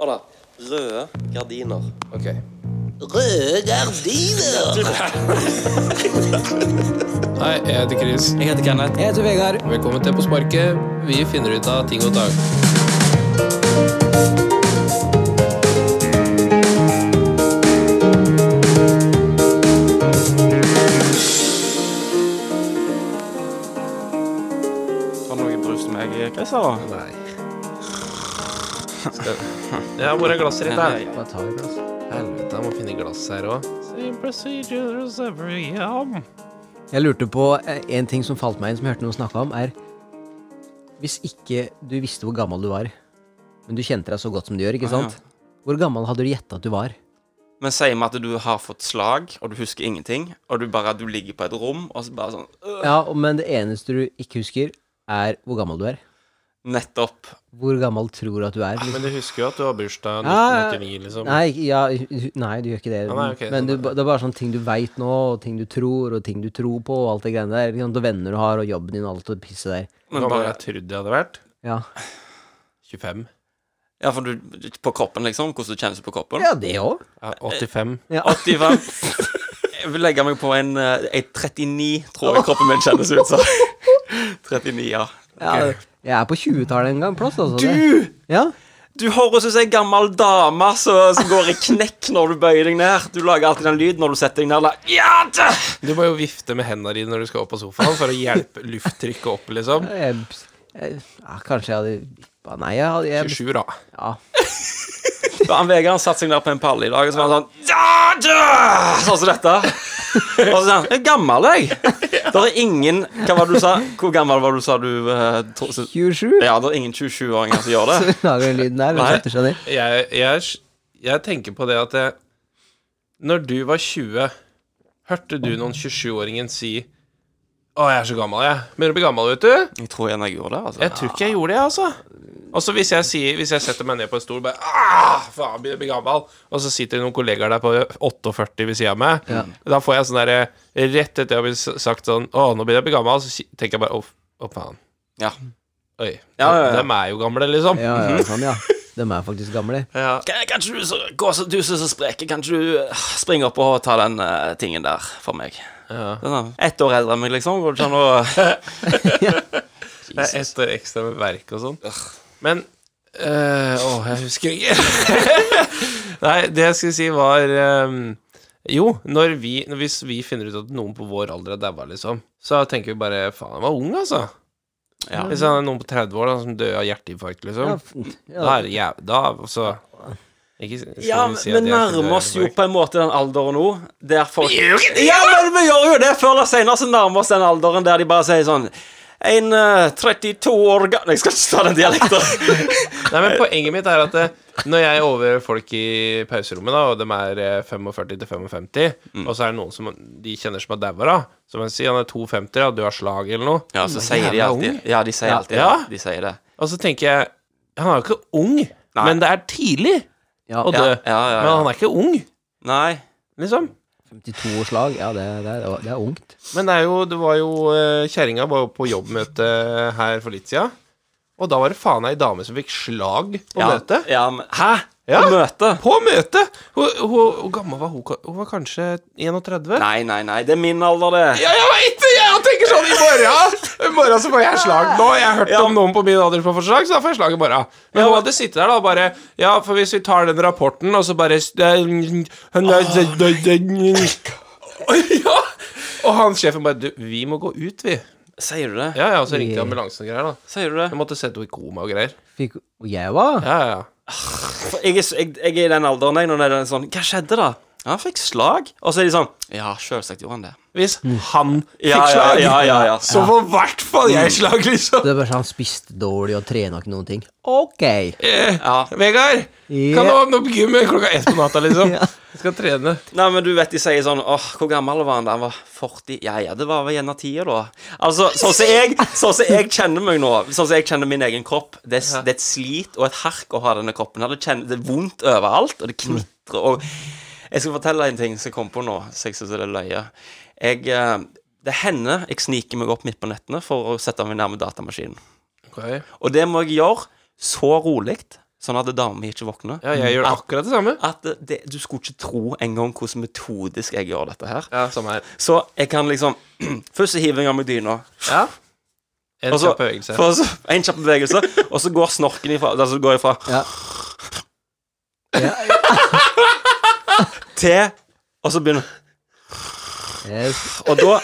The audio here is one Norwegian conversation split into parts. Hør da. Røde gardiner. Ok. Røde gardiner! Hei, jeg heter Chris. Jeg heter Kenneth. Jeg heter Vegard. Velkommen til På sparket. Vi finner ut av ting og tang. Har du noe brus til meg, Chris? eller? Nei. Det har vært glasset ditt der. Bare ta et glass. Helvete, jeg må finne glass her også. Same procedure as every year. Jeg lurte på eh, en ting som falt meg inn, som jeg hørte noen snakke om, er Hvis ikke du visste hvor gammel du var, men du kjente deg så godt som du gjør, ikke Ah, ja. sant? Hvor gammel hadde du gjetta at du var? Men sier vi at du har fått slag, og du husker ingenting, og du bare du ligger på et rom, og så bare sånn øh, Ja, og- men det eneste du ikke husker, er hvor gammel du er. Nettopp. Hvor gammel tror du at du er? Men du husker jo at du har bursdag Ja, ja. 1989, liksom. Nei, ikke- ja, hu- nei, du gjør ikke det. Ja, nei, ok, men sånn du, er det. det er bare sånn ting du veit nå, og ting du tror, og ting du tror på, og alt det greiene der. Ikke sant? Og venner du har, og jobben din, og alt det pisset der. Hva Men var det bare, jeg trodde jeg hadde vært? Ja, 25? ja, for du På kroppen, liksom? Hvordan du kjennes på kroppen? ja det òg. Ja, 85? Ja. 85. Jeg vil legge meg på en, eh, en 39, tror jeg kroppen min kjennes ut som. 39, ja. Ja, jeg er på 20-tallet en gang plass, altså. Du! Ja. Du høres ut som ei gammel dame som som går i knekk når du bøyer deg ned. Du lager alltid den lyden når du setter deg ned. da. Ja, da! Du må jo vifte med hendene dine når du skal opp på sofaen, for å hjelpe lufttrykket opp, liksom. Jeg, jeg, ja, kanskje jeg hadde ja, Nei, jeg hadde jeg, 27, da. ja. Da han Vegard han satte seg ned på en palle i dag, og så var han sånn ja, da! Sånn som dette. Og så sa han 'Jeg er gammel, jeg'. Det er ingen Hva var det du sa? Hvor gammel var det du sa du eh, tro- så- 27? Ja, det er ingen 27-åringer som gjør Så det. vi lager den lyden der. Nei. Og setter seg ned. Jeg, jeg, jeg tenker på det at jeg, Når du var 20, hørte du noen 27-åringen si å, jeg er så gammel, jeg. Begynner å bli gammel, vet du. Jeg tror en jeg gjorde det. altså Jeg tror ikke jeg gjorde det, altså. Og så hvis jeg, sier, hvis jeg setter meg ned på en stol bare «Ah, faen, begynner å bli gammel, og så sitter det noen kollegaer der på 48 ved siden av meg, da får jeg sånn derre Rett etter jeg har blitt s- sagt sånn Å, nå begynner jeg å bli gammel, så si- tenker jeg bare Å, f- å faen. Ja. Oi. Ja, ja, ja. Dem er jo gamle, liksom. Ja, ja, sånn, ja. De er faktisk gamle. Kan- Kanskje du så, gå så, du som er så sprek, kan ikke du eh, springe opp og ta den eh, tingen der for meg? Ja. Den er Ett år eldre enn meg, liksom. Går det ikke an å Det er ett år ekstra med verk og sånn. Men øh, Å, jeg husker ikke. Nei, det jeg skulle si, var øhm, Jo, når vi, når hvis vi finner ut at noen på vår alder er daua, liksom, så tenker vi bare Faen, han var ung, altså. Ja. Hvis han er noen på 30 år da, som døde av hjerteinfarkt, liksom, Ja, f- da ja. er det jæv... Da, altså ikke, skal Ja, vi men si at vi jeg døde nærmer av oss jo hjerteinfarkt. på en måte den alderen nå der folk Ja, men vi gjør jo det! Før eller senere så nærmer oss den alderen der de bare sier sånn En eh, 32 år ga... Nei, jeg skal ikke ta den dialekten. Nei, men Poenget mitt er at eh, når jeg overhører folk i pauserommet, da, og de er eh, 45 til 55, Mm. og så er det noen som de kjenner som er daua, da Som jeg sier, han er 52, ja, du har slag eller noe. ja, så sier de Jævla alltid Ja, de sier alltid Ja. det. De sier det. Og så tenker jeg Han er jo ikke ung, men det er tidlig Ja, å dø. Ja, ja, ja, Men ja. han er ikke ung, Nei. liksom. 52 års lag. Ja, det, det, er- det er ungt. Men det er jo Det var jo eh, Kjerringa var jo på jobbmøte her for litt siden, og da var det faen ei dame som fikk slag på Ja, møtet. Ja, men, hæ? Ja. På møtet? På møtet! Hun- hun- Hvor gammel var hun? Hun var kanskje 31? Nei, nei, nei. Det er min alder, det. Ja, jeg veit det! Jeg tenker sånn i morgen. I morgen så får jeg slag nå. Jeg har hørt om noen på min alder som har fått slag, så da får jeg slag i morgen. Men hun hadde sittet der da og bare Ja, for hvis vi tar den rapporten, og så bare Ja! Og han sjefen bare Du, vi må gå ut, vi. Sier du det? Ja, ja, og så ringte de ambulansen og greier, da. Sier du det? Jeg måtte sette henne i koma og greier. Fikk, og jeg var Ja, ja, ja. For jeg, er så- jeg, jeg er i den alderen jeg, når det er sånn Hva skjedde, da? Ja, Han fikk slag. Og så er de sånn Ja, sjølsagt gjorde han det. Hvis han Ja, fikk ja, slag, ja, ja, ja. så får i hvert fall jeg slag, liksom. Det er bare sånn, Han spiste dårlig og trena ikke noen ting. Ok! Ja. Vegard, Ja. kan du åpne opp gymmet klokka ett på natta, liksom? Ja. Jeg skal trene. Nei, men du vet de sier sånn Åh, hvor gammel var han da? Han var 40 Ja, ja, det var vel gjerne tida da Altså, sånn som jeg Sånn som jeg kjenner meg nå Sånn som jeg kjenner min egen kropp Det er, s- det er et slit og et hark å ha denne kroppen her det, kjenner, det er vondt overalt Og det knitrer og Jeg skal fortelle deg en ting som jeg kom på nå Så jeg synes det er løye Jeg eh, Det hender jeg sniker meg opp midt på nettene For å sette meg nærme datamaskinen Ok. Og det må jeg gjøre så rolig sånn at dama mi ikke våkner. Ja, jeg gjør akkurat det samme. At det, Du skulle ikke tro engang hvordan metodisk jeg gjør dette her. Ja, samme her. Så jeg kan liksom Først så hiver jeg av meg dyna. Ja. En Og så- kjapp bevegelse. Altså, for så- En kjapp bevegelse, og så går snorken ifra Altså går ifra Ja. Ja, til Og så begynner yes. Og da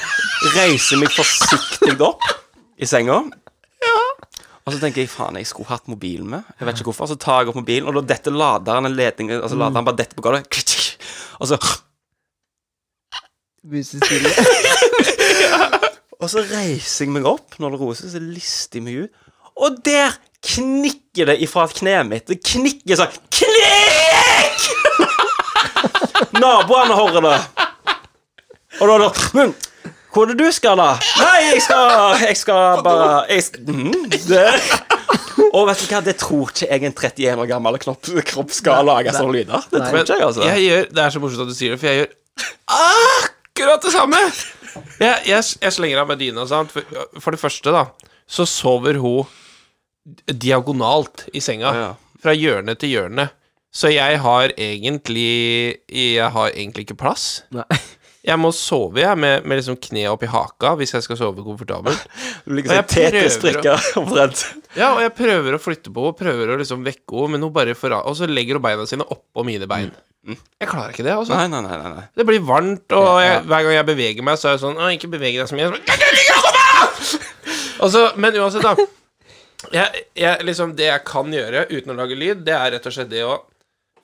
reiser jeg meg forsiktig opp i senga. Og så tenker jeg faen, jeg skulle hatt mobilen med. Jeg vet ikke hvorfor. Så tar jeg opp mobilen, og da detter laderen en ledning Altså laderen bare detter på gulvet. Klik, Og så Musestille. Og så reiser jeg meg opp når det roer seg, så lister jeg meg ut. Og der knikker det ifra kneet mitt. Det knikker sånn Knikk! Naboene hører det. Og da er det Men hvor er det du skal, da? Nei, jeg skal Jeg skal bare jeg, s- mm, det. Og vet du hva, det tror ikke jeg en 31 år gammel knopp, kropp skal lage sånne lyder. Det tror ikke jeg, altså. jeg gjør, det er så morsomt at du sier det, for jeg gjør akkurat det samme. Jeg, jeg, jeg slenger av meg dyna. Sant? For, for det første, da, så sover hun diagonalt i senga. Ja. Fra hjørne til hjørne. Så jeg har egentlig Jeg har egentlig ikke plass. Nei. Jeg må sove jeg, med, med liksom kneet oppi haka hvis jeg skal sove komfortabelt. Du ligger Og sånn jeg prøver å- Tetris-strikka omtrent. Ja, og jeg prøver å flytte på henne, prøver å liksom vekke henne, men hun bare forra... Og så legger hun beina sine oppå mine bein. Jeg klarer ikke det, altså. Mm. Nei, nei, nei. nei, nei. Det blir varmt, og jeg, hver gang jeg beveger meg, så er det sånn «Å, Ikke beveg deg så mye. Så bare, «Jeg sånn, kan ikke komme!» og så, men uansett, da. Jeg, jeg, liksom, det jeg kan gjøre uten å lage lyd, det er rett og slett det å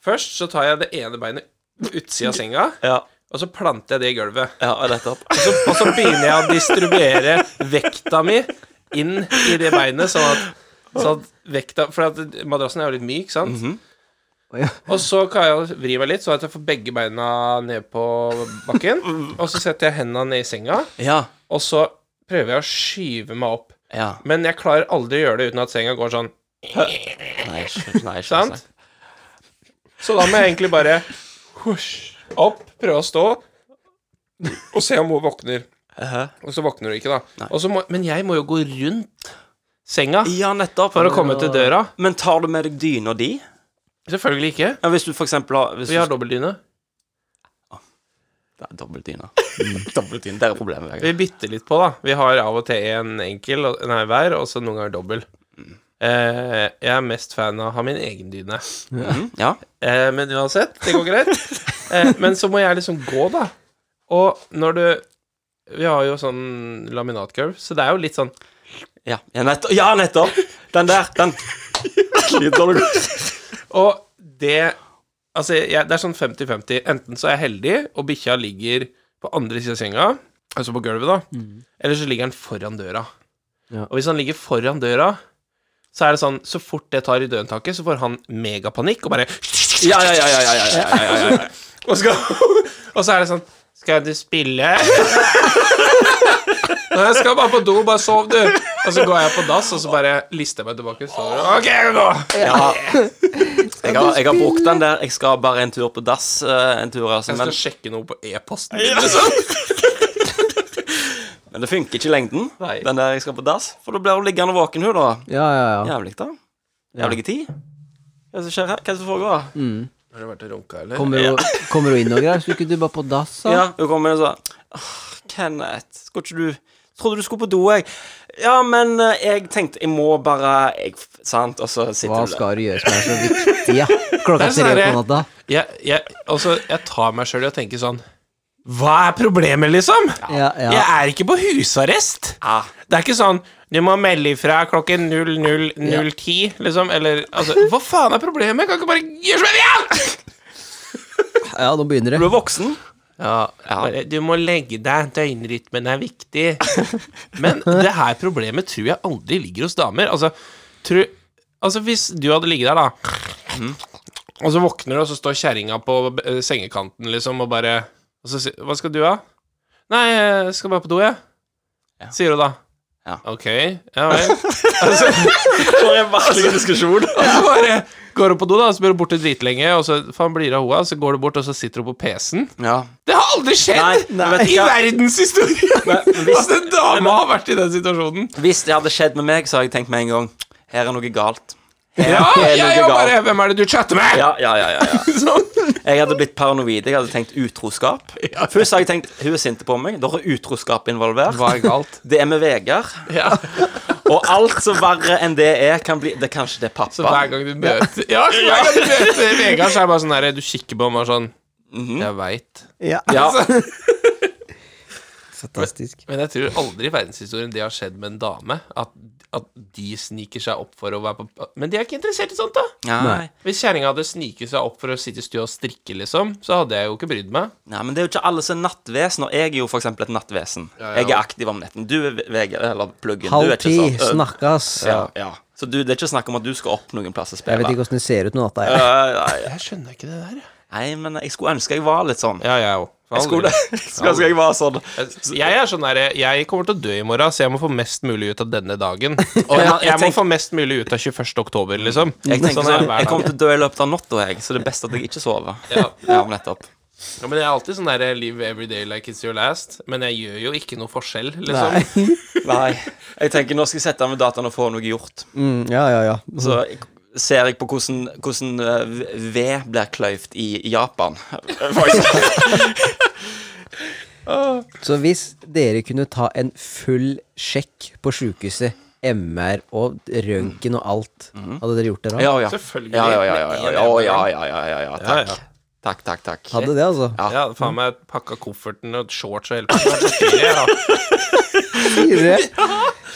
Først så tar jeg det ene beinet utsida av senga, Ja, og så planter jeg det i gulvet. ja nettopp. Og så, og så begynner jeg å distribuere vekta mi inn i det beinet, sånn at, sånn at vekta For at madrassen er jo litt myk, sant? ja. Og så kan jeg vri meg litt, sånn at jeg får begge beina ned på bakken. Og så setter jeg hendene ned i senga, Ja, og så prøver jeg å skyve meg opp. ja. Men jeg klarer aldri å gjøre det uten at senga går sånn, Nei, ikke, nei, ikke sant? Så da må jeg egentlig bare husj, opp, prøve å stå, og se om hun våkner. Og så våkner du ikke, da. Og så må, men jeg må jo gå rundt senga Ja, nettopp. for å komme til døra. Men tar du med deg dyna di? Selvfølgelig ikke. Ja, hvis du for eksempel har hvis Vi har du, dobbeltdyne. Det er Dobbeltdyne. Mm, Dobbeltdyne, der er problemet. Vegard. Vi bytter litt på, da. Vi har av og til en enkel, og- nei, hver, og så noen ganger dobbel. Eh, jeg er mest fan av å ha min egen dyne. Mhm, Ja. Eh, men uansett, det går greit. Eh, men så må jeg liksom gå, da. Og når du Vi har jo sånn laminatgulv, så det er jo litt sånn Ja, ja, nettopp. ja, nettopp. Den der, den Lyder du Og det Altså, jeg, det er sånn 50-50. Enten så er jeg heldig, og bikkja ligger på andre siden av senga, altså på gulvet, da, eller så ligger han foran døra. Mhm. Ja. Og hvis han ligger foran døra, så er det sånn Så fort det tar i dørhåndtaket, så får han megapanikk og bare Ja, ja, ja, ja, ja, ja, ja, ja, ja, ja. og, skal, og så er det sånn Skal du spille? Nei, jeg skal bare på do. Bare sov, du. Og så går jeg på dass, og så bare lister jeg meg tilbake. Så, OK, jeg kan gå. Ja. Jeg, har, jeg har brukt den der. Jeg skal bare en tur på dass. eh, en tur, altså, Jeg men, skal sjekke noe på e-posten. min, liksom. men det funker ikke i lengden, Nei. den der jeg skal på dass. For da blir hun liggende våken, hun, da. Ja, ja, ja. Jævlig, da. Jævlig tid. Hva er det som skjer her? Hva er det som foregår? Har du vært og runka, eller? Kommer hun kommer hun inn og greier? Skulle ikke du bare på dass, da? Ja, hun kommer inn og sa «Åh, Kenneth, skulle ikke du Trodde du skulle på do, jeg. Ja, men eh, jeg tenkte Jeg må bare jeg, Sant? Og så sitter Hva du der. skal du gjøre som er så viktig? Ja, Det klokka er tre sånn på der- natta. Jeg, jeg, altså, jeg tar meg sjøl i å tenke sånn Hva er problemet, liksom? Ja, Jeg ja. er ikke på husarrest. Ah, Det er ikke sånn Du må melde ifra klokken 00.010, liksom. Eller altså Hva faen er problemet? Jeg kan ikke bare gjøre som jeg vil! ja, nå begynner du det. er voksen. Ja, bare, du må legge deg. Døgnrytmen er viktig. Men det her problemet tror jeg aldri ligger hos damer. Altså, tror, altså hvis du hadde ligget der, da, og så våkner du, og så står kjerringa på eh, sengekanten, liksom, og bare og så, sier- Hva skal du ha? Nei, jeg skal bare på do, jeg. Sier hun da. Ja. Ok, ja vel. For en vanskelig diskusjon. Og så bare går hun på do, da, og så blir hun borte dritlenge, og så faen blir det av henne, og så går du bort, og så sitter hun på PC-en. Ja. Det har aldri skjedd Nei, nei. i verdenshistorien hvis- at en dame har vært i den situasjonen. Hvis det hadde skjedd med meg, så hadde jeg tenkt med en gang Her er noe galt. Ja, det er ja, noe ja, galt. bare Hvem er det du chatter med? Ja, ja, ja, ja, ja. Sånn. Jeg hadde blitt paranoid. Jeg hadde tenkt utroskap. Først hadde jeg tenkt hun er sint på meg. Da er utroskap involvert. Hva er galt? Det er med Vegard. Ja. Og alt som verre enn det er, kan bli det, Kanskje det er Så hver pappa. gang du møter Ja, så hver gang du møter Vegard, så er det bare sånn der Du kikker på ham og er sånn Jeg veit. Ja. Ja, Fantastisk. Men jeg tror aldri i verdenshistorien det har skjedd med en dame. At, at de sniker seg opp for å være på Men de er ikke interessert i sånt, da. Nei. Hvis kjerringa hadde sniket seg opp for å sitte i stua og strikke, liksom, så hadde jeg jo ikke brydd meg. Nei, men det er jo ikke alle som er nattvesener. Jeg er jo for eksempel et nattvesen. Ja, ja. Jeg er aktiv om netten. Du er Vegard, eller pluggen. Du Halv er ti, ikke så snakkes. Ja, ja. Så du, det er ikke snakk om at du skal opp noen plass og Jeg vet spille. ikke åssen det ser ut nå, natta. Øh, Jeg. nei, Jeg skjønner ikke det der. jeg. nei, men jeg skulle ønske jeg var litt sånn. Ja, jeg òg. Jeg skulle, jeg skulle ønske jeg var sånn. Jeg er sånn der, jeg kommer til å dø i morgen, så jeg må få mest mulig ut av denne dagen. Og jeg, Ja, jeg jeg må tenk- få mest mulig ut av 21. oktober, liksom. Jeg er tenker sånn, det hver jeg dag. kommer til å dø i løpet av natta, jeg, så det er best at jeg ikke sover. Ja, nettopp. Ja, men jeg er alltid sånn der Live every day like it's your last. Men jeg gjør jo ikke noe forskjell, liksom. Nei. Nei. Jeg tenker nå skal jeg sette meg ved dataen og få noe gjort. Mm, ja, ja, ja. Så jeg- ser jeg på hvordan, hvordan eh, v- ved blir kløyvd i Japan. Så hvis dere kunne ta en full sjekk på sjukehuset, MR og røntgen og alt, hadde dere gjort det da? Mm. Ja, ja. Selvfølgelig. Ja, ja, ja, ja, ja, ja, ja, ja, ja, ja, ja, Ja, ja. takk. Takk, takk, takk. Hadde det, altså? Ja, faen meg pakka kofferten og shorts og hele pakka. Fire.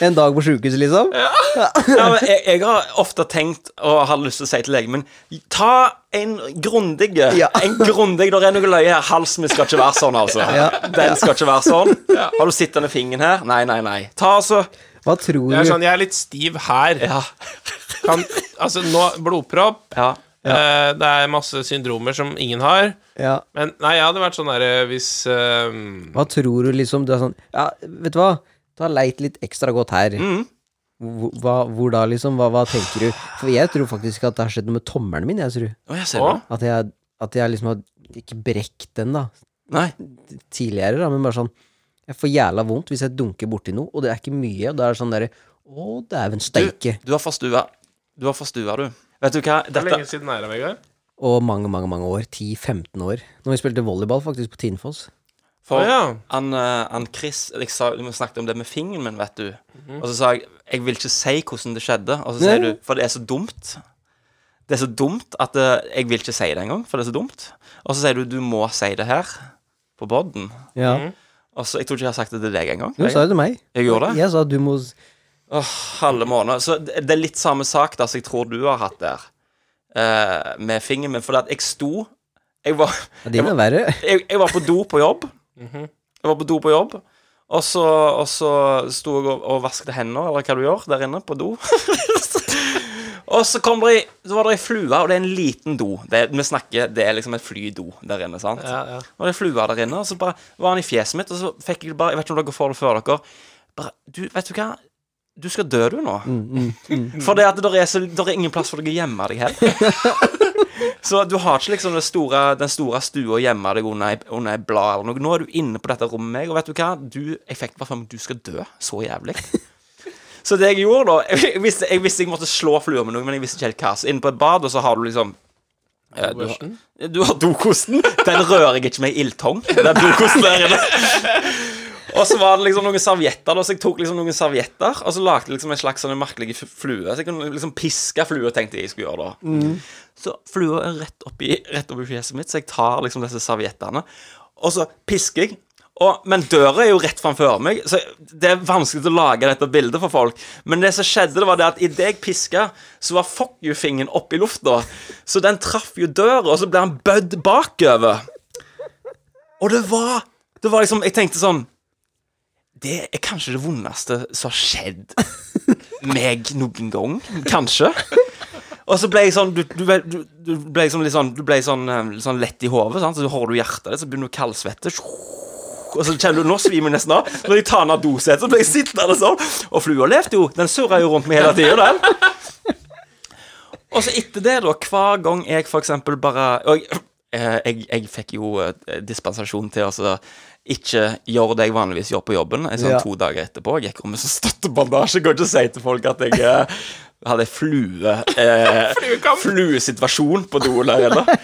En dag på sjukehuset, liksom? Ja, men jeg, jeg har ofte tenkt og har lyst til å si til legen min Ta en grundig Ja. En grundig, Det er noe løye her. Halsen min skal ikke være sånn, altså. Ja. Den skal ikke være sånn. Har du sittende fingeren her? Nei, nei, nei. Ta altså Hva tror Jeg er du? sånn, jeg er litt stiv her. Ja. Kan, altså, nå Blodpropp. ja. Eh, det er masse syndromer som ingen har. Ja. Men nei, jeg hadde vært sånn derre hvis eh, Hva tror du, liksom? Du er sånn Ja, vet du hva? Ta leit litt ekstra godt her. Mm. Hvor, hva, hvor da, liksom? Hva, hva tenker du? For jeg tror faktisk at det har skjedd noe med tommelen min, jeg, tror. Å, jeg ser det. At jeg, at jeg liksom har ikke brekt den, da. Nei. Tidligere, da, men bare sånn Jeg får jævla vondt hvis jeg dunker borti noe, og det er ikke mye, og da er det sånn derre Å, dæven steike. Du har forstua. Du har forstua, du. Vet du hva? Hvor Dette lenge siden er det, Vegard? Og mange, mange mange år. 10-15 år. Når vi spilte volleyball, faktisk, på Tinnfoss. For Å, ja. han, eh, han Chris jeg sa, Vi snakket om det med fingeren min, vet du. Og så sa jeg jeg vil ikke si hvordan det skjedde. Og så sier Nei. du for det er så dumt. Det er så dumt at eh, jeg vil ikke si det engang, for det er så dumt. Og så sier du du må si det her, på podden. Ja. Og så, Jeg tror ikke jeg har sagt det til deg engang. Du Jeg, sa jo til meg. Mm. jeg gjorde det? Jeg sa du må s- Åh, halve måneder. Så det det er litt samme sak da som jeg tror du har hatt der, eh, med fingeren min. For at jeg sto Jeg var ja, Din er verre. jeg, jeg var på do på jobb. Mhm. Jeg var på do på jobb. Og så, og så sto jeg og, og vasket hender, eller hva du gjør, der inne på do. og så, kom det, ei- så var det ei flue, og det er en liten do. Det, er- vi snakker, det er liksom et flydo der inne. sant? Ja, ja. Og det er flua der inne, og så bare var han i fjeset mitt, og så fikk jeg bare Jeg vet ikke om dere får det før dere. Bare, du, vet du hva? Du skal dø, du, nå. For det at der er, så, der er ingen plass for deg å gjemme deg heller. Så du har ikke liksom den store, den store stua hjemme deg under ei- under ei blad eller noe. Nå er du inne på dette rommet med meg, og vet du hva? Du, jeg fikk bare for meg at du skal dø så jævlig. Så det jeg gjorde da Jeg visste jeg, visste jeg måtte slå flua med noe, men jeg visste ikke helt hva. Så inne på et bad, og så har du liksom eh, du, har- du har dokosten. Den rører jeg ikke med ei ildtong. Den dokosten der inne. Og så var det liksom noen servietter, da, så jeg tok liksom noen servietter og så lagde jeg liksom en slags sånn en merkelig f- flue. Så jeg kunne liksom piske flua, tenkte jeg jeg skulle gjøre da. Så flua er rett oppi, rett oppi fjeset mitt, så jeg tar liksom disse serviettene. Og så pisker jeg. Og, men døra er jo rett framfor meg, så det er vanskelig å lage dette bildet for folk. Men det som skjedde, det var det at idet jeg piska, så var fuck you-fingeren opp i lufta. Så den traff jo døra, og så ble han bødd bakover. Og det var Det var liksom Jeg tenkte sånn Det er kanskje det vondeste som har skjedd meg noen gang. Kanskje. Og så ble jeg sånn Du, du, ble- du, du ble liksom litt sånn Du ble sånn, eh, litt sånn lett i hodet, sant? så hører du hjertet ditt, så begynner du å kaldsvette. Og så kjenner du Nå svimer jeg nesten av. Når jeg tar ned dosetet, så blir jeg sittende sånn. Og flua levde jo. Den surra jo rundt meg hele tida, den. Og så etter det, da, hver gang jeg for eksempel bare og jeg, eh, jeg, jeg fikk jo eh, dispensasjon til å altså, ikke gjøre det jeg vanligvis gjør på jobben. En sånn Ja. to dager etterpå. Jeg gikk rundt med sånn støttebandasje. Går ikke og sier til folk at jeg eh, Hadde jeg flue eh, Fluesituasjon på doen der inne.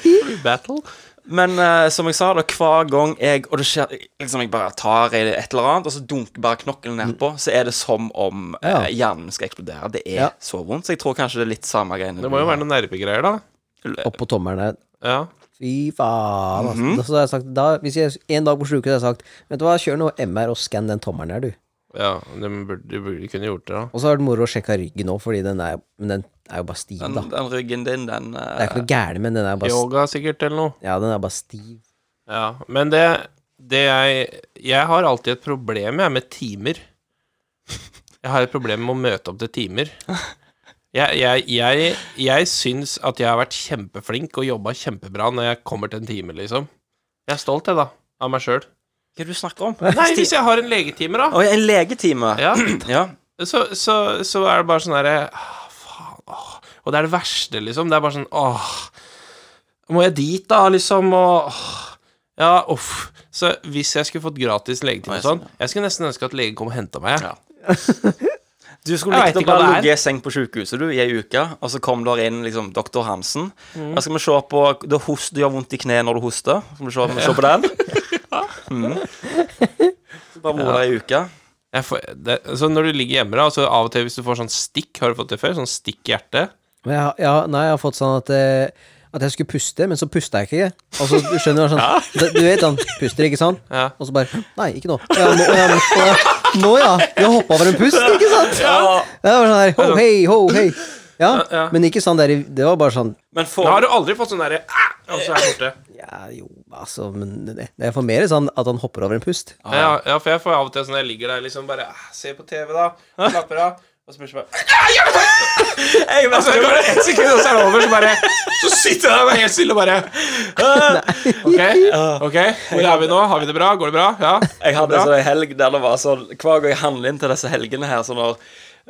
Battle? Men eh, som jeg sa, da, hver gang jeg Og det skjer liksom Jeg bare tar i et eller annet, og så dunker bare knokkelen nedpå, så er det som om Ja. eh, hjernen skal eksplodere. Det er Ja. så vondt. Så jeg tror kanskje det er litt samme greiene. Det må jo være noen nervegreier, da. Opp på tommelen der. Ja. Fy faen, altså. Mhm. Så da har jeg sagt, da, hvis jeg en dag på sluket har jeg sagt Vet du hva, kjør nå MR og skann den tommelen der, du. ja de, burde, de burde kunne gjort det, da. Og så har det vært moro å sjekke ryggen nå, fordi den er, men den er jo bare stiv, da. den, Det den ryggen din, den eh, er ikke noe gærent, men den er bare, st- Yoga sikkert, eller noe. ja, den er bare stiv. Ja. Men det, det jeg Jeg har alltid et problem, jeg, med timer. Jeg har et problem med å møte opp til timer. Jeg, jeg, jeg, jeg syns at jeg har vært kjempeflink og jobba kjempebra når jeg kommer til en time, liksom. Jeg er stolt, jeg, da. Av meg sjøl. Hva er det du snakker om? Nei, hvis jeg har en legetime, da. Oi, en legetime. Ja. Ja. så, så, så er det bare sånn herre «Ah, Faen, åh. Og det er det verste, liksom. Det er bare sånn Åh. Må jeg dit, da, liksom? Og åh. Ja, uff. Så hvis jeg skulle fått gratis legetime Nei, og sånn sånn, Jeg skulle nesten ønske at legen kom og henta meg. jeg. Ja. Du skulle Jeg likt å vet ikke bare hva det er. ligge i seng på sykehuset du, i ei uke, og så kom der inn liksom, doktor Hansen. Mm. Da skal vi se på Det host, det gjør vondt i kneet når du hoster. Skal vi se, vi se på den? Mm. Bare bor der ei uke. Jeg får, det, så når du ligger hjemme, da, så av og til hvis du får sånn stikk Har du fått det før? Sånn stikk i hjertet? Men jeg, har- jeg, har- nei, jeg har fått sånn at, eh, at jeg skulle puste, men så pusta jeg ikke. Og så du skjønner du sånn Du vet han puster, ikke sant? Ja. Og så bare Nei, ikke nå. Ja, nå, ja, nå, nå ja. Vi har hoppa over en pust, ikke sant? Ja. Det var sånn der ho hei, ho hei. Ja, Ja, ja. men ikke sånn der i- Det var bare sånn Men Da for har du aldri fått sånn derre «Ah!» Og så er jeg borte. Ja, jo, altså Men det, det er for mer sånn at han hopper over en pust. Ah, Ja, ja, for jeg får av og til sånn jeg ligger der liksom bare «Ah, Se på TV, da. Slapper av. Og så plutselig bare «Ah, jeg vet det!» Altså, jeg, Og så går det ett sekund, og så er det over, så bare Så sitter jeg der bare helt stille og bare Ok, ok, hvor er vi nå? Har vi det bra? Går det bra? Ja. jeg hadde Bra. en sånn helg der det var sånn Hver gang jeg handler inn til disse helgene her, sånn når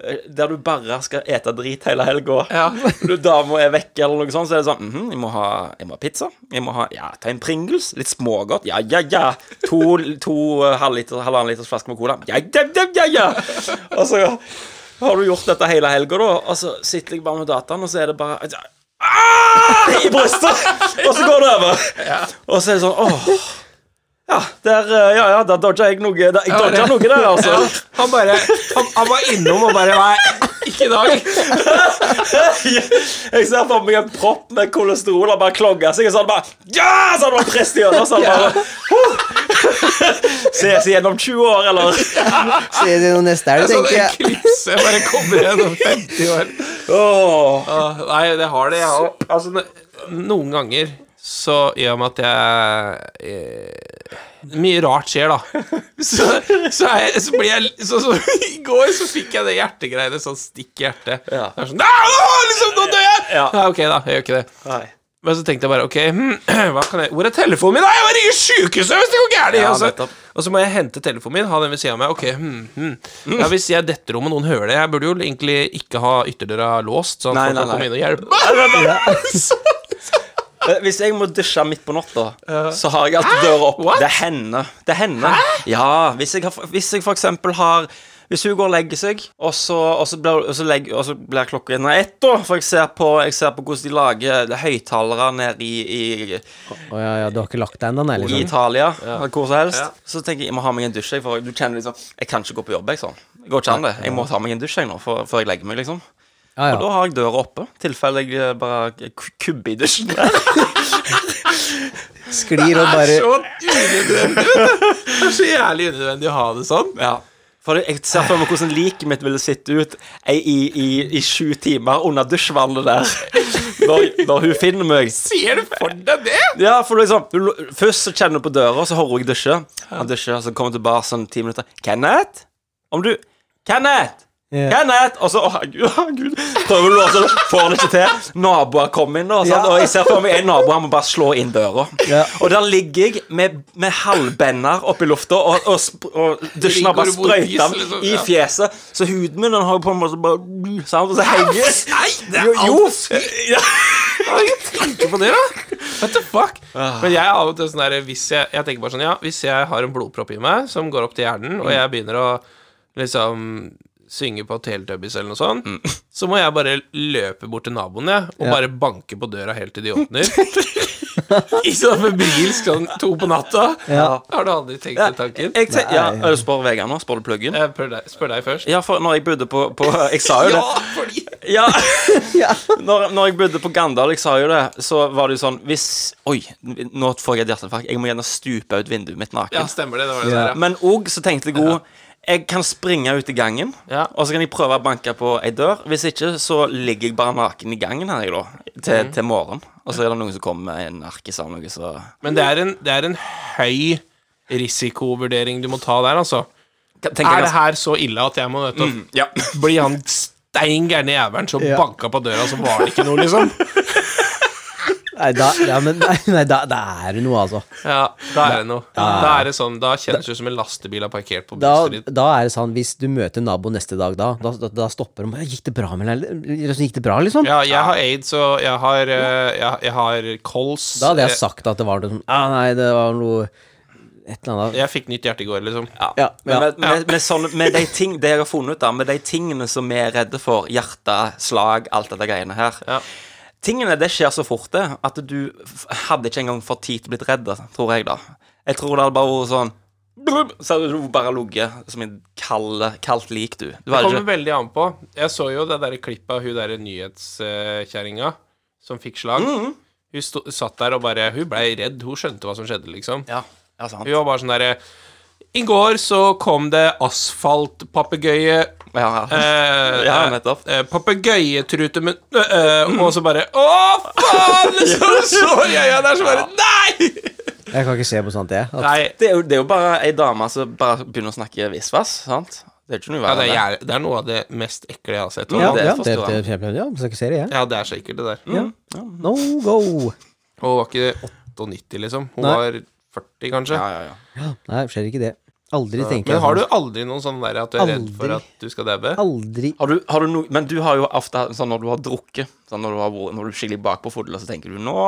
eh, der du bare skal ete drit hele helga. Ja. Når Dama er vekke, eller noe sånt, så er det sånn mhm, jeg, må ha, 'Jeg må ha pizza. Jeg må ha, ja, Ta en Pringles. Litt smågodt. Ja, ja, ja. To, to eh, halvliter, halvannen liters flaske med cola. Ja, ja, ja, ja, ja. Og så har du gjort dette hele helga, da, og så sitter jeg bare med dataen, og så er det bare ah, I brystet! Og så går det over. Og så er det sånn åh. Ja, der, eh, ja, ja, der dodga jeg noe. Der, jeg dodga noe der, altså. Han bare han, han var innom og bare Nei, ikke i dag. Jeg ser for meg en propp med kolesterol og bare klogger seg, og så hadde bare Ja! Så hadde han prest i øynene, så hadde han bare «Huh!» Ses igjen om 20 år, eller Se det nå neste helg, Sånn tenker jeg. eklipse bare kommer igjen om 50 år. Åh. Åh, nei, det har det, jeg òg. Altså, no- noen ganger så i og med at jeg eh, Mye rart skjer, da. Så, så, er jeg, så blir jeg så, så, I går så fikk jeg det hjertegreiene, sånn stikk i hjertet. Ja. Det er sånn «Nei, nå, liksom, Nå dør jeg! Ja. Nei, ok, da. Jeg gjør ikke det. Nei. Men så tenkte jeg bare OK, hm, hva kan jeg, hvor er telefonen min? Nei, jeg må ringe sjukehuset hvis det går gærent! Ja, altså. nettopp. Og så må jeg hente telefonen min, ha den ved siden av meg. Ok, hm, hm. Ja, Hvis jeg detter om og noen hører det Jeg burde jo egentlig ikke ha ytterdøra låst, sånn Nei, at folk kan nei, komme inn og nei. hjelpe. Eh, Hvis jeg må dusje midt på natta, så har jeg alltid døra opp. What? Det er henne. Det er henne. Ja, hvis jeg, har, hvis jeg for eksempel har hvis hun går og legger seg, og så, og så, blir, og så, legger, og så blir klokka gjerne ett, da For jeg ser på, jeg ser på hvordan de lager høyttalere nede i, i Å ja, ja, du har ikke lagt deg ennå, nei? I Liksom. Italia, eller hvor som helst. Ja. Så tenker jeg jeg må ha meg en dusj. jeg, For du kjenner liksom Jeg kan ikke gå på jobb, jeg. sånn Det går ikke an, det. Jeg må ta meg en dusj jeg nå før før jeg legger meg, liksom. Ja, Og da ja. har jeg døra oppe, i tilfelle jeg eh, bare k- kubber i dusjen. der. Sklir og bare Så unødvendig, vet du. Det er så jævlig unødvendig å ha det sånn. ja. For jeg ser for meg hvordan liket mitt ville sitte ut i, i, i, i sju timer under dusjvannet der. Når, når hun finner meg. Sier du for deg det? Ja, for liksom du, lo- Først så kjenner du på døra, så hører hun jeg dusje. Han dusjer, så kommer hun tilbake sånn ti minutter. 'Kenneth? Om du Kenneth!' Ja. Kenneth! Og så Å, herregud, herregud. Prøver å låse det, får han ikke til. Naboer kommer inn, da. sant? Ja. Og jeg ser for meg en nabo, han må bare slå inn døra. Ja. Og der ligger jeg med, med halvbender oppi lufta, og, og, sp- og dusjen har bare Ligger du mot is, sprøyta liksom, i ja. fjeset. Så huden min den har jo på en måte bare sant? Og så henger Nei, det Jo, er jo. alt Ja. Jeg tenker på det, da. What the fuck? Men jeg er av og til sånn der hvis jeg, jeg tenker bare sånn, ja, hvis jeg har en blodpropp i meg som går opp til hjernen, og jeg begynner å liksom synge på Teletubbies eller noe sånt, så må jeg bare løpe bort til naboen, jeg, og bare banke på døra helt til de åpner. I sånn febrilsk sånn to på natta. Ja. Har du aldri tenkt den tanken? Jeg te ja, øh, spør Vegard nå. Spør du pluggen? Jeg spør deg, spør deg først. Ja, for når jeg bodde på, på Jeg sa jo det. fordi Ja. Når, når jeg bodde på Gandal, jeg sa jo det, så var det jo sånn Hvis Oi, nå får jeg et hjerteinfarkt. Jeg må gjerne stupe ut vinduet mitt Ja, naken. stemmer det. Det var det Ja. der, ja. Men òg så tenkte jeg òg Jeg kan springe ut i gangen, Ja. og så kan jeg prøve å banke på ei dør. Hvis ikke, så ligger jeg bare naken i gangen her, jeg, da. Til, til morgen. Og så er det noen som kommer med en arkis av noe, så Men det er en, det er en høy risikovurdering du må ta der, altså. Tenker Er jeg det her så ille at jeg må vet du, Ja. bli han stein gærne jævelen som Ja. banka på døra, så var det ikke noe, liksom? Nei, da, ja, men, nei, nei da, da er det noe, altså. Ja, da er det noe. Da er det sånn, da kjennes det ut som en lastebil har parkert på Da, bussen din. da er det sånn, hvis du møter nabo neste dag da, da, da, da stopper de. «Ja, 'Gikk det bra med deg?' Gikk det bra, liksom? Ja, jeg har aids, og jeg har, eh, jeg, jeg har kols. Da hadde jeg sagt at det var noe sånn Ja, nei, det var noe Et eller Jeg, annet. jeg fikk nytt hjerte i går, liksom. Ja, Men ja. med, med, med, sånne, med de ting Det jeg har funnet ut da Med de tingene som vi er redde for Hjerte, slag, alt dette greiene her Ja. Tingene, det skjer så fort det At du f- hadde ikke engang fått tid til å bli redd Tror jeg da Jeg tror det hadde bare vært sånn blub, Så hadde du bare ligget Som en kald, kaldt lik du Du Det hadde kommer ikke veldig an på. Jeg så jo det der klippet av hun derre nyhetskjerringa som fikk slag. Hun sto, satt der og bare Hun blei redd. Hun skjønte hva som skjedde, liksom. Ja, ja sant Hun var bare sånn derre I går så kom det asfaltpapegøye ja, ja. eh, Ja, nettopp. eh, Papegøyetrutmunn eh, eh, Og så bare Å, faen! Liksom, så jeg ja, der, så bare Nei! Jeg kan ikke se på sånt, jeg. At, Nei. det, er jo, det er jo bare en dame Som bare begynner å snakke visvas Sant? Det er ikke noe Ja, verre det, er, enn det. jævlig- det er noe av det mest ekle jeg har sett. ja, Ja, det ja, forstår det, det, jeg. det, ja, skal ikke se det, jeg. ja det er så ekkelt, det der. No go! Og hun var ikke 98, liksom. Hun Nei. var 40, kanskje. Ja, ja, ja Nei, skjer ikke det. Aldri tenker Men jeg har du sånn. aldri noen sånn der at du er redd for Aldri. at du skal dabbe? Aldri Har du, har du no, men du har jo ofte sånn når du har drukket sånn når, du har, vært- når du er skikkelig bakpå fodla, så tenker du Nå,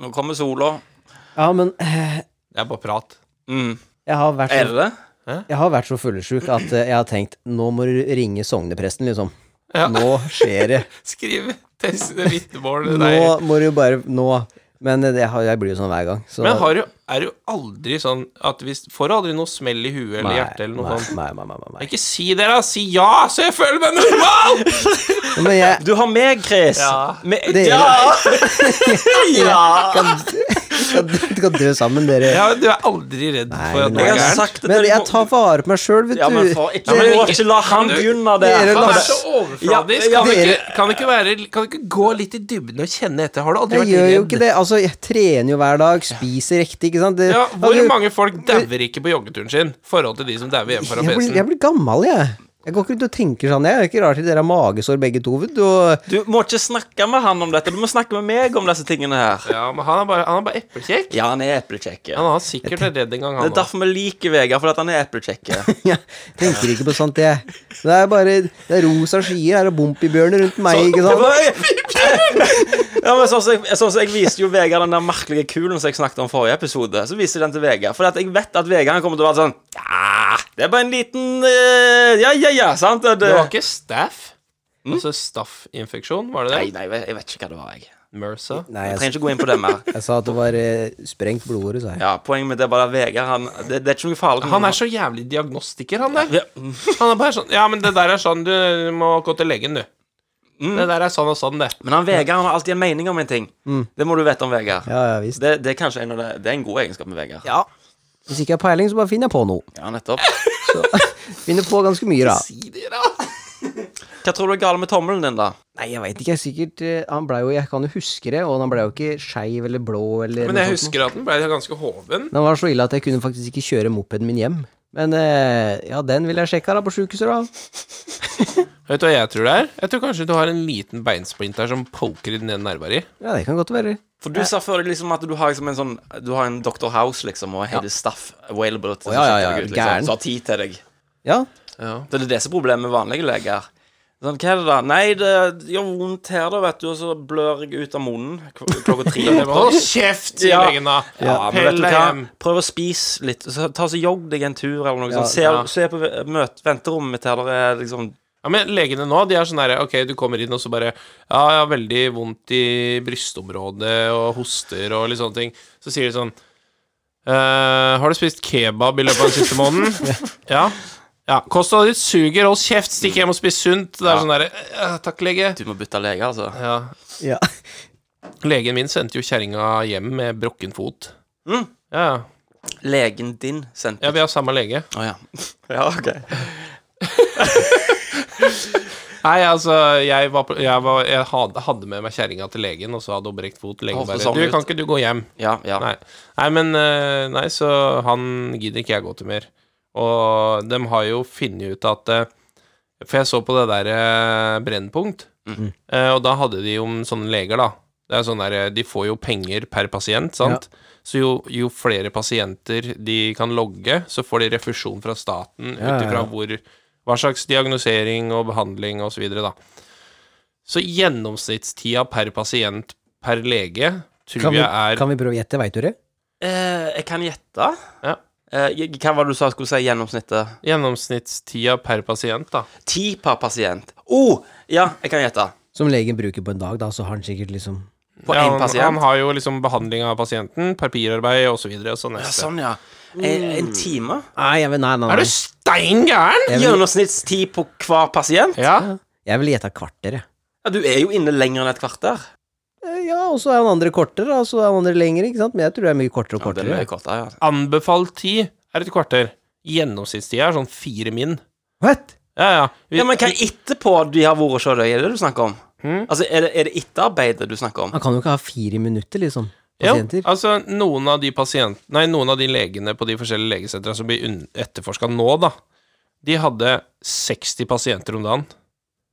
nå kommer sola. Ja, men eh, Det er bare prat. Mm. jeg har vært Er så, det det? jeg har vært så fullesjuk at eh, jeg har tenkt Nå må du ringe sognepresten, liksom. Ja. Nå skjer det. Skriv test det vitnemål. Nå Nei. må du bare Nå. Men eh, det, har- jeg blir jo sånn hver gang. Så Men har du, er du aldri sånn at hvis Får du aldri noe smell i huet eller hjertet eller noe nei, sånt? Nei, nei, nei. nei, nei. Ikke si det, da! Si ja, så jeg føler meg normal! Men jeg Du har meg, Chris. Ja. Me- Dere- ja. ja. kan, kan, kan dø sammen, dere. Ja, men Du er aldri redd for at men du er jeg Jeg har gæren. sagt det Men til- jeg tar vare på meg sjøl, vet du. ja, men for, ikke, Ja, men må ikke- ikke la han kan du- begynne Dere Han der. er la- Han- så overfladisk. Ja, Kan du dere- ikke, kan du ikke, være, kan du ikke gå litt i dybden og kjenne etter? Har du aldri Jeg vært gjør jo redd? ikke det. Altså, jeg trener jo hver dag, spiser riktig, ikke sant. Det, altså, Ja, hvor hadde jo- mange folk dauer ikke på joggeturen sin? i Forhold til de som dauer hjemme på jeg blir, rampesen? jeg blir gammel, jeg. Jeg går ikke rundt og tenker sånn, jeg. Det er ikke rart at dere har magesår begge to, vet du. Og Du må ikke snakke med han om dette. Du må snakke med meg om disse tingene her. Ja, men han er bare, han er bare eplekjekk. Ja, han er eplekjekke. Han har sikkert vært redd en gang, Det er han òg. derfor vi liker Vegard, fordi at han er eplekjekke. jeg tenker ikke på sånt, jeg. Det er bare det er rosa skyer her og bompibjørner rundt meg, ikke Det sant. var- Ja, men sånn som jeg, sånn som jeg viste jo Vegard den der merkelige kulen som jeg snakket om forrige episode. Så viste jeg den til Vegard. For at jeg vet at Vegard han kommer til å være sånn Ja, det er bare en liten eh, Ja, ja, ja. Sant? eh, Det, Det var ikke staff. Mm? Altså staffinfeksjon, var det Nei, det? nei, jeg vet ikke hva det var. Jeg MRSA. Nei, Jeg jeg, trenger ikke gå inn på det mer. jeg sa at det var eh, sprengt blodåre, sa jeg. Ja, Poenget med det er bare at Vegard han, det, det er ikke noe farlig. Han er så jævlig diagnostiker, han der. Ja. Han er bare sånn Ja, men det der er sånn, du må gå til legen, du. Det der er sånn og sånn, det. Men han Vegard han har alltid en mening om en ting. Det må du vite om Vegard. Mm. Ja, ja, visst. Det, det er kanskje en av det, det er en god egenskap med Vegard. Ja, Hvis ikke jeg har peiling, så bare finner jeg på noe. nettopp Finner på ganske mye, da. Si det, da! Hva tror du er galt med tommelen din, da? Nei, jeg veit ikke. Jeg sikkert eh, Han blei jo Jeg kan jo huske det, og han blei jo ikke skeiv eller blå eller Men jeg noe sånt noe. husker at den ble ganske hoven. Den var så ille at jeg kunne faktisk ikke kjøre mopeden min hjem. Men eh, ja, den vil jeg sjekke da, på sjukehuset, da. Vet du hva jeg tror det er? Jeg tror kanskje du har en liten beinsplint der som poker i den ene nerva di. Ja, det kan godt være. For du sa før liksom at du har liksom en sånn Du har en Dr. House, liksom, og Heidi Staff available til Å, ja, ja, ja, å sjekke deg ut, gæren. liksom, som har tid til deg. Ja. Det er det som er problemet med vanlige leger. Sånn, hva er det da? Nei, det gjør vondt her, da, vet du, og så blør jeg ut av munnen kl- klokka tre. om natta. Hold kjeft, sier Ja. legen da. Ja, men vet Pell du deg hva? hjem. Prøv å spise litt. Så, ta så Jogg deg en tur, eller noe Ja, sånt. Se, ja. se på møt, venterommet mitt her, der er liksom Ja, men legene nå, de er sånn derre Ok, du kommer inn, og så bare Ja, jeg har veldig vondt i brystområdet og hoster og litt sånne ting. Så sier de sånn «Eh, Har du spist kebab i løpet av den siste måneden? ja. Ja, Kostholdet ditt suger, hold kjeft, stikk hjem og spis sunt. Det er sånn derre «Eh, Takk, lege. Du må bytte lege, altså. Ja. Ja. Legen min sendte jo kjerringa hjem med brukken fot. Mm. Ja, ja. Legen din sendte ja, vi har samme lege. Å ja. ja, ok. Nei, altså, jeg, var, på- jeg, var, jeg hadde, hadde med meg kjerringa til legen, og så hadde hun brekt fot. Legen Å, for bare sånn 'Du, ut. kan ikke du gå hjem?' Ja, ja. Nei. nei, men eh, Nei, så han gidder ikke jeg gå til mer. Og de har jo funnet ut at eh, For jeg så på det der eh, Brennpunkt, Mm. eh, og da hadde de om sånne leger, da. Det er sånn der, eh, De får jo penger per pasient, sant? Så jo, jo flere pasienter de kan logge, så får de refusjon fra staten Ja, ja, ut ja. ifra hvor Hva slags diagnosering og behandling og så videre, da. Så gjennomsnittstida per pasient per lege tror Kan vi, jeg er kan vi prøve å gjette, veit du det? Eh, jeg kan gjette. Ja. Eh, jeg- hva var det du sa skulle si gjennomsnittet? Gjennomsnittstida per pasient, da. Ti per pasient. Oh, ja, jeg kan gjette. Som legen bruker på en dag, da, så har han sikkert liksom På Ja, én han, pasient. han har jo liksom behandling av pasienten, papirarbeid og så videre, og så ja, neste. sånn, ja. En, Mm. en time? Nei, jeg vil, nei, nei, Er nei. du stein gæren?! Jeg vil, Gjennomsnittstid på hver pasient? Ja. jeg vil gjette kvarter, jeg. Ja, du er jo inne lenger enn et kvarter. Eh, Ja, og så er han andre kortere, da, og så er han andre lengre, ikke sant? Men jeg tror det er mye kortere og Ja, det kortere. er mye kortere, ja. Anbefalt tid er et kvarter. Gjennomsnittstida er sånn fire min. What? Ja, ja. Vi, ja, Men hva etterpå de har vært hos deg, er det du snakker om? Hmm? Altså, er det, er det etterarbeidet du snakker om? Han kan jo ikke ha fire minutter, liksom. jo, Pasienter. altså, noen av de pasient... Nei, noen av de legene på de forskjellige legesentra som blir unn- etterforska nå, da, de hadde 60 pasienter om dagen.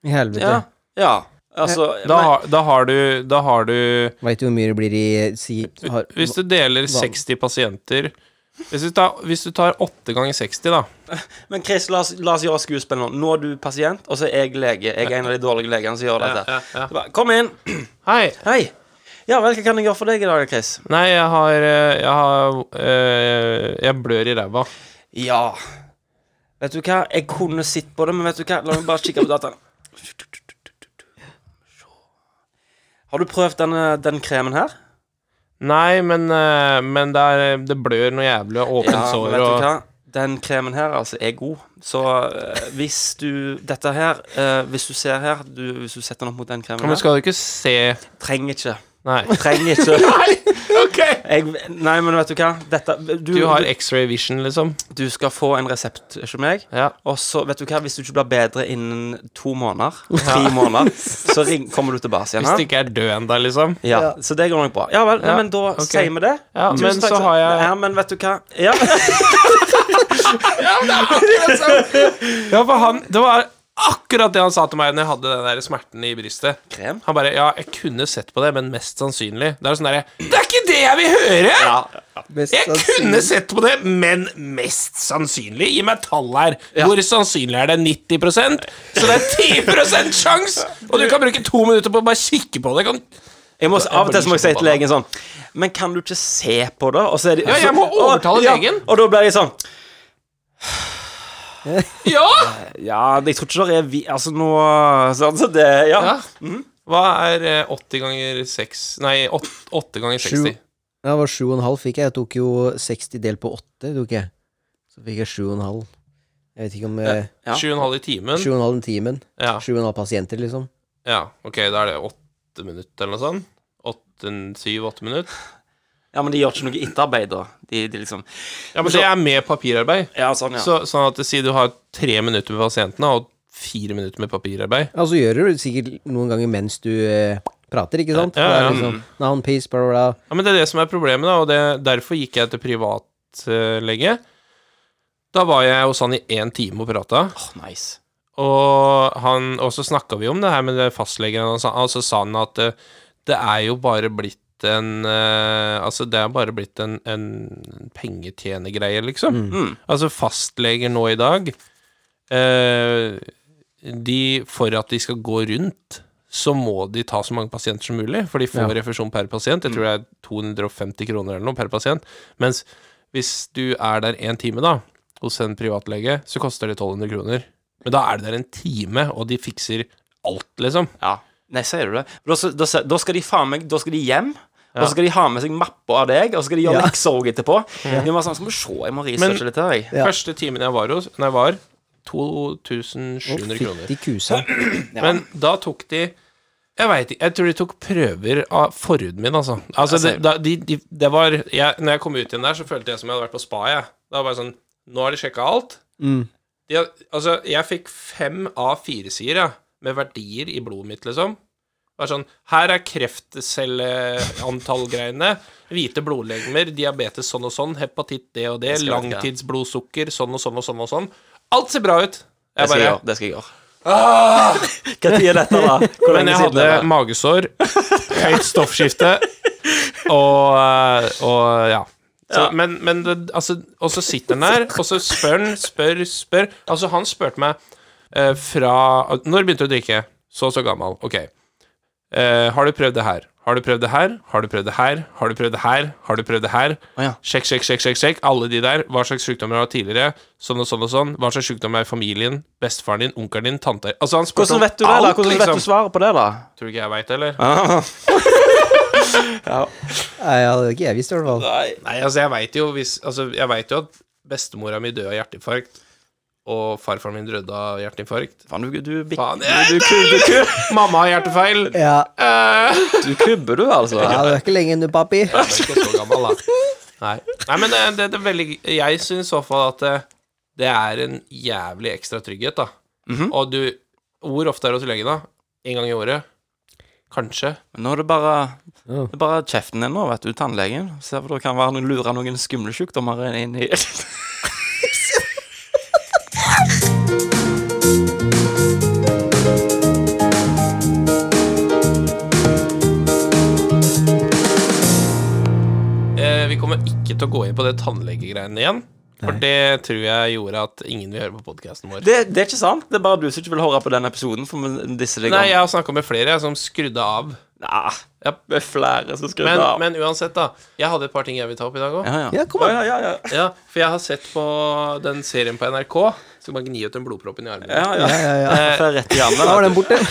I helvete. Ja. ja. Altså, Eh, Da, men, har- da har du Da har du Veit du hvor mye det blir i si, har, Hvis du deler 60 pasienter Hvis du tar, hvis du tar 8 ganger 60 da men Chris, la oss, la oss gjøre skuespill nå. Nå er du pasient, og så er jeg lege. Jeg er en av de dårlige legene som gjør dette. Så bare, Kom inn. Hei, Hei. Ja vel, hva kan jeg gjøre for deg i dag, Chris? nei jeg har eh, Jeg, har, eh, jeg blør i ræva Ja. Vet du hva, jeg kunne sett på det, men vet du hva, la meg bare kikke på dataen. Har du prøvd denne, den kremen her? Nei, men, eh, men det, er, det blør noe jævlig og åpent Ja, men sår vet du og, hva? Den kremen her altså er god. Så eh, hvis du Dette her, eh, hvis du ser her du, Hvis du setter den opp mot den kremen Men her skal du ikke se Trenger ikke. Nei, Trenger ikke. ok Jeg, nei, men vet du hva? Dette, du, Du har du, x-ray vision liksom du skal få en resept ikke meg. Ja, Og så, vet du hva, hvis du ikke blir bedre innen to måneder, tre måneder, så ring, kommer du tilbake igjen. hvis her. du ikke er død enda liksom Ja, Så det går nok bra. Ja vel, nei, Ja, men da ok. sier vi det. Ja, Tusen men takk så skal- har jeg- Ja, men vet du hva Ja, Ja, for han, det var akkurat det han sa til meg Når jeg hadde den der smerten i brystet Krem? Han bare Ja, jeg kunne sett på det, men mest sannsynlig. Det er sånn derre Det er ikke det jeg vil høre! Jeg kunne sett på det, men mest sannsynlig. Gi meg tall her. Hvor sannsynlig er det? 90 Så det er 10 sjanse! Og du kan bruke to minutter på å bare kikke på det. Kan... Jeg må, av og til så må jeg si Jeg til legen sånn Men kan du ikke se på det? Og så er det, Ja, jeg må så- og- overtale ja, legen. Og da blir jeg sånn Ja! Ja, jeg tror ikke det er vi Altså, nå sånn, Så det Ja. ja. Mm. Hva er eh, 80 ganger 6 Nei, 8, ganger Sju. 60. Ja, det var sju og en halv fikk jeg. Jeg tok jo 60 del på åtte, tok jeg. Så fikk jeg sju og en halv. Jeg vet ikke om eh, Ja. 7,5 i timen. Sju og en halv en timen. Ja. Sju og en halv pasienter, liksom. ja, ok, da er det 8 minutter eller noe sånt. 7-8 minutter. ja, men de gjør ikke noe etterarbeid, da. De, de liksom Ja, men det er med papirarbeid. Ja, sånn, ja. Så, sånn at si du har tre minutter med pasientene og fire minutter med papirarbeid. Ja, så gjør du det sikkert noen ganger mens du eh, prater, ikke sant? Ja, ja, Det er Liksom, Noun, peace, bla, bla, bla. Ja, men det er det som er problemet, da, og det, derfor gikk jeg til privatlege. Da var jeg hos han i én time og prata, Åh, nice. og, han- og så snakka vi om det her med det fastlegen, og, så- og så sa han at eh, det er jo bare blitt en eh, Altså, det er bare blitt en, en pengetjenergreie, liksom. Mm. Altså fastleger nå i dag eh, de, For at de skal gå rundt Så må de ta så mange pasienter som mulig For de får refusjon per pasient Jeg tror det er 250 kroner eller noe per pasient Mens hvis du er der en time da Hos en privatlege Så koster det 1200 kroner Men da er du der en time, og de fikser alt, liksom. Ja. Nei, sier du det? Da, s- da, s- da skal de faen meg Da skal de hjem. Og så skal de ha med seg mappa av deg, og så skal de gjøre Ja. lekser også etterpå. Det var sånn, så må du se, jeg må researche Men- litt her, jeg. Ja. Første timen jeg var hos Nei, var 2700 kroner. Fytti kusa. Men da tok de jeg veit ikke, jeg tror de tok prøver av forhuden min, altså. altså det, da, de, de, det var jeg, Når jeg kom ut igjen der, så følte jeg som jeg hadde vært på spa, jeg. Da var jeg sånn Nå har de sjekka alt. Mm. De, had- altså, jeg fikk fem av fire sider, jeg, med verdier i blodet mitt, liksom. Det var sånn Her er kreftcelleantall-greiene. Hvite blodlegemer, diabetes sånn og sånn, hepatitt det og det, skal jeg ikke. langtidsblodsukker sånn og sånn og sånn og sånn. Alt ser bra ut. Det Jeg skal jeg bare «Ah!» gjøre. Det skal jeg gjøre. Hva tid er dette, da? Hvor Men lenge jeg siden hadde er det? magesår, høyt stoffskifte og, eh, og ja. Så, Men, men det, altså, og så sitter han der, og så spør han, spør, spør Altså, han spurte meg eh, fra Når begynte du å drikke? Så så gammel. Ok. Eh, har du prøvd det her? Har du prøvd det her? Har du prøvd det her? Har du prøvd det her? Har du prøvd det her? Å, ja. Sjekk, sjekk, sjekk, sjekk, sjekk. Alle de der. Hva slags sykdommer har du hatt tidligere? Sånn og sånn og sånn. Hva slags sykdommer er i familien? Bestefaren din? Onkelen din? Tante Altså, han spurte Hvordan vet du det, da? Hvordan vet du svaret på det, da? Tror du ikke jeg veit det, eller? Ah, Nei, ja, det hadde ikke jeg visst, i hvert fall. Nei, altså, jeg veit jo hvis Altså, jeg veit jo at bestemora mi døde av hjerteinfarkt, og farfaren min døde av hjerteinfarkt. Faen, du, du, bik- Faen, du, jeg- du, ku- du, ku- Mamma har hjertefeil! Ja, du kubber, du, altså. ja du er ikke lenge ennå, papi. Jeg er ikke så gammel, da. Nei, Nei men det, det, det er veldig Jeg syns i så fall at det, det er en jævlig ekstra trygghet, da. Mhm. Og du Hvor ofte er du hos legen, da? En gang i året? Kanskje? Nå er det bare, Ja. det er bare kjeften din nå, vet du, tannlegen. Ser for det kan være noen lure noen skumle sjukdommer inn i Eh, vi kommer ikke til å gå inn på det tannlegegreiene igjen. For det tror jeg gjorde at ingen vil høre på podkasten vår. det, det er ikke sant. Det er bare du som ikke vil høre på den episoden, for vi disser deg Nei, jeg om har snakka med flere jeg, som skrudde av. Nei, det er flere som skrur Men, av. men uansett, da. Jeg hadde et par ting jeg vil ta opp i dag òg. ja, ja. Ja, kom an. Ja, ja, ja. Ja, for jeg har sett på den serien på NRK. Skal bare gni ut den blodproppen i armen. ja, ja. Ja, ja, ja. Jeg får rett i Da var hjernen. den borte.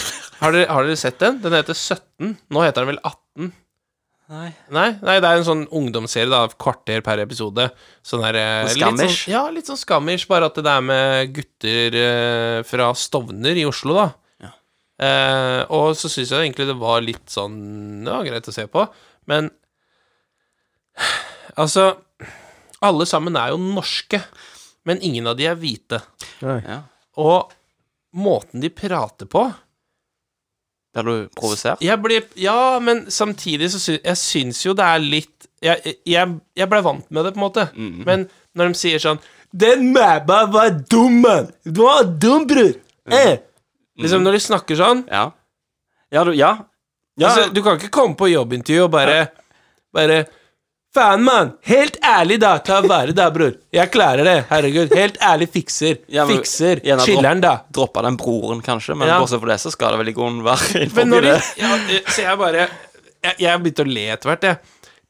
Har, dere, har dere sett den? Den heter 17. Nå heter den vel 18. Nei. Nei, nei det er en sånn ungdomsserie, da. Kvarter per episode. Sånn der eh, Sånn litt skammish? Sånn, ja, litt sånn skammish, bare at det er med gutter eh, fra Stovner i Oslo, da. Eh, og så syns jeg egentlig det var litt sånn Ja, greit å se på, men Altså Alle sammen er jo norske, men ingen av de er hvite. Nei. Ja. Og måten de prater på Blir du provosert? jeg ble, ja, men samtidig så syns jeg syns jo det er litt Jeg, jeg, jeg ble vant med det, på en måte. Mhm. Men når de sier sånn 'Den mæba var dum, mann! Du var dum, bror!' Mhm. Eh. Liksom når de snakker sånn Ja. Ja, du Ja. ja. altså, Du kan ikke komme på jobbintervju og bare Bare 'Faen, mann! Helt ærlig, da! Ta vare, da, bror! Jeg klarer det! Herregud! Helt ærlig, fikser! Ja, men- fikser! Ja, da, bro. Chiller'n, da!' Droppa den broren, kanskje, men Ja. bortsett fra det, så skal det vel i grunnen være Men innenfor når de, det. ja, eh, Så jeg bare Jeg, jeg begynte å le etter hvert, jeg.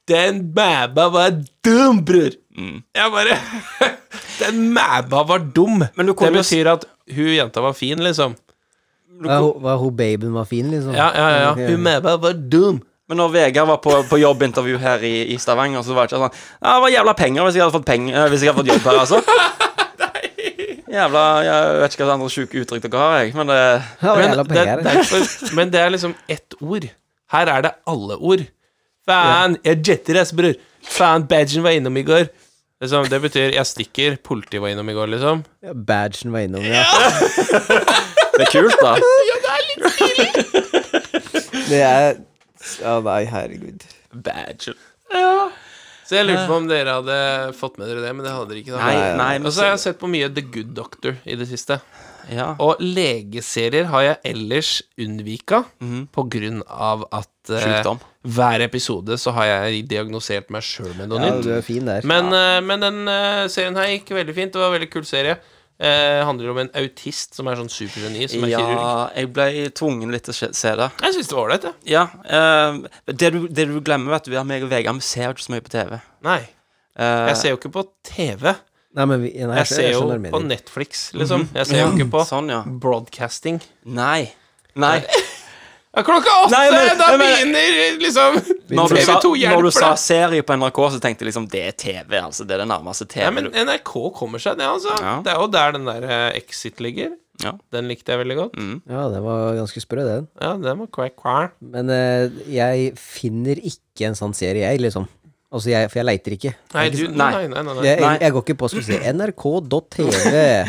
Den mæba var dum, bror! Jeg bare Den mæba var dum! Men du det kunne jo s- betyr at hun jenta var fin, liksom. Ja, hun- Var hun babyen var fin, liksom? Ja, ja, ja. Ok. Hun mæba var dum. Men når Vegard var på, på jobbintervju her i, i Stavanger, så var det ikke sånn Ja, det var jævla penger hvis jeg hadde fått, penger, eh, hvis jeg hadde fått jobb her, altså. Jævla Jeg vet ikke hva andre sjuke uttrykk dere har, jeg, men det Ja, Men jævla det, penger. det er, ikke- men det er liksom ett ord. Her er det alle ord. Faen, jeg jetter ass, bror. Faen, badgen var innom i går. Liksom, det betyr jeg stikker. Politiet var innom i går, liksom. Ja, Badgen var innom, ja. Det er kult, da. Det er Ja, nei, herregud. Badge. Så jeg lurte på om dere hadde fått med dere det, men det hadde dere ikke. da Nei, nei, Og men så har jeg sett på mye The Good Doctor i det siste. Ja. Og legeserier har jeg ellers unnvika på grunn av at eh, Mhm. Sjukdom. hver episode så har jeg diagnosert meg sjøl med noe Ja, nytt. du er fin der. Men, eh, men den eh, serien her gikk veldig fint. Det var en veldig kul serie. Eh, handler om en autist som er sånn supergeni, som er kirurg. Ja, jeg ble tvungen litt til å se- se det. Jeg syns det var ålreit, jeg. Ja. eh, det, du, det du glemmer, vet du, er at meg og Vegard vi ser jo ikke så mye på TV. Nei. Eh, Jeg ser jo ikke på TV. Nei, men vi, nei, Jeg jeg, skjø- ser jeg jo på skjønner meningen. Netflix, liksom. Jeg ser jo ikke på Sånn, ja. broadcasting. Nei. Nei. Ja, klokka åtte! Nei, men- da jeg mener- begynner liksom Når du, sa, TV2 når du hjelper sa deg. serie på NRK, så tenkte jeg liksom det er TV. altså Det er det nærmeste TV. Ja, men NRK kommer seg, det, altså. Ja. Det er jo der den der eh, Exit ligger. Ja. Mm. Den likte jeg veldig godt. Ja, den var ganske sprø, den. Ja, den var quack, quack. Men eh, jeg finner ikke en sånn serie, jeg, liksom. Altså, jeg, for jeg leiter ikke. Nei, du, nei, Nei. nei, nei, nei. Jeg, jeg, jeg går ikke på skal vi se NRK.tv.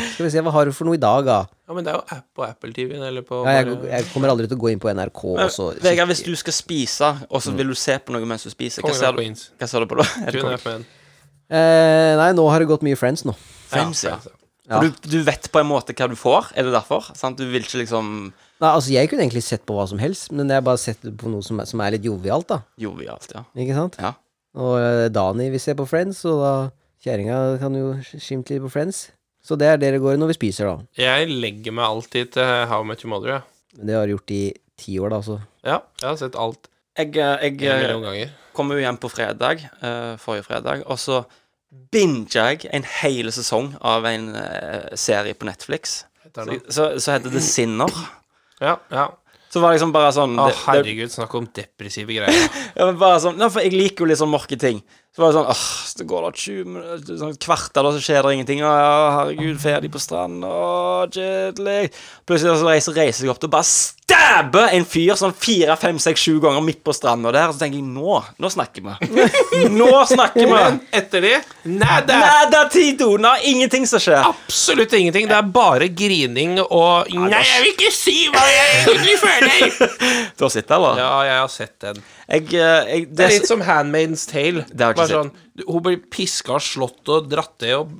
Skal vi se, hva har du for noe i dag, da? Ja, men det er jo app på Apple TV eller på Nei, jeg, bare- jeg kommer aldri til å gå inn på NRK og så Vegard, hvis du skal spise, og så vil du se på noe mens du spiser, hva Kongen ser av du, Queens. hva ser du på da? Er det Kun Kongen? FN. Eh, Nei, nå har det gått mye Friends nå. Friends, ja. Friends, ja. For Du, du vet på en måte hva du får, er det derfor? Sant? Du vil ikke liksom Nei, altså, jeg kunne egentlig sett på hva som helst, men jeg har bare sett på noe som er, som er litt jovialt, da. jovialt, ja. Ikke sant? Ja. Og eh, Dani vil se på Friends, og da kjerringa kan jo skimte litt på Friends. Så det er det det går i når vi spiser, da. Jeg legger meg alltid til How Much Your Mother, ja. Men det har jeg gjort i ti år, da, altså. så Ja, jeg har sett alt Jeg, eh, jeg en eh, million ganger. kom jo hjem på fredag, eh, forrige fredag, og så binga jeg en hel sesong av en eh, serie på Netflix. Etter Så, nå. så, så heter det Sinner. Ja, ja. Så var det liksom bare sånn Å, det- det- herregud, snakk om depressive greier. Ja, men bare sånn, nei, for jeg liker jo litt sånn mørke ting. Så var det sånn åh, så går det 20 minutter, sånn kvarter, da, så skjer det ingenting. Å, herregud, ferdig på stranden, å, kjedelig. Plutselig så reiser, reiser jeg opp til og bare stabber en fyr sånn fire, fem, seks, sju ganger midt på stranda der. Og så tenker jeg nå, nå snakker vi. Nå snakker vi. Men etter det Nei, Ah. det er Nada tido, nå er ingenting som skjer. absolutt ingenting. Det er bare grining og Nei, jeg vil ikke si hva jeg egentlig føler! Du har sett det, eller? Ja, jeg har sett den. Jeg, eh, jeg, Det er litt sånn som Handmaidens Tale. Det har jeg ikke Bare sånn, du- hun blir piska og slått og dratt til og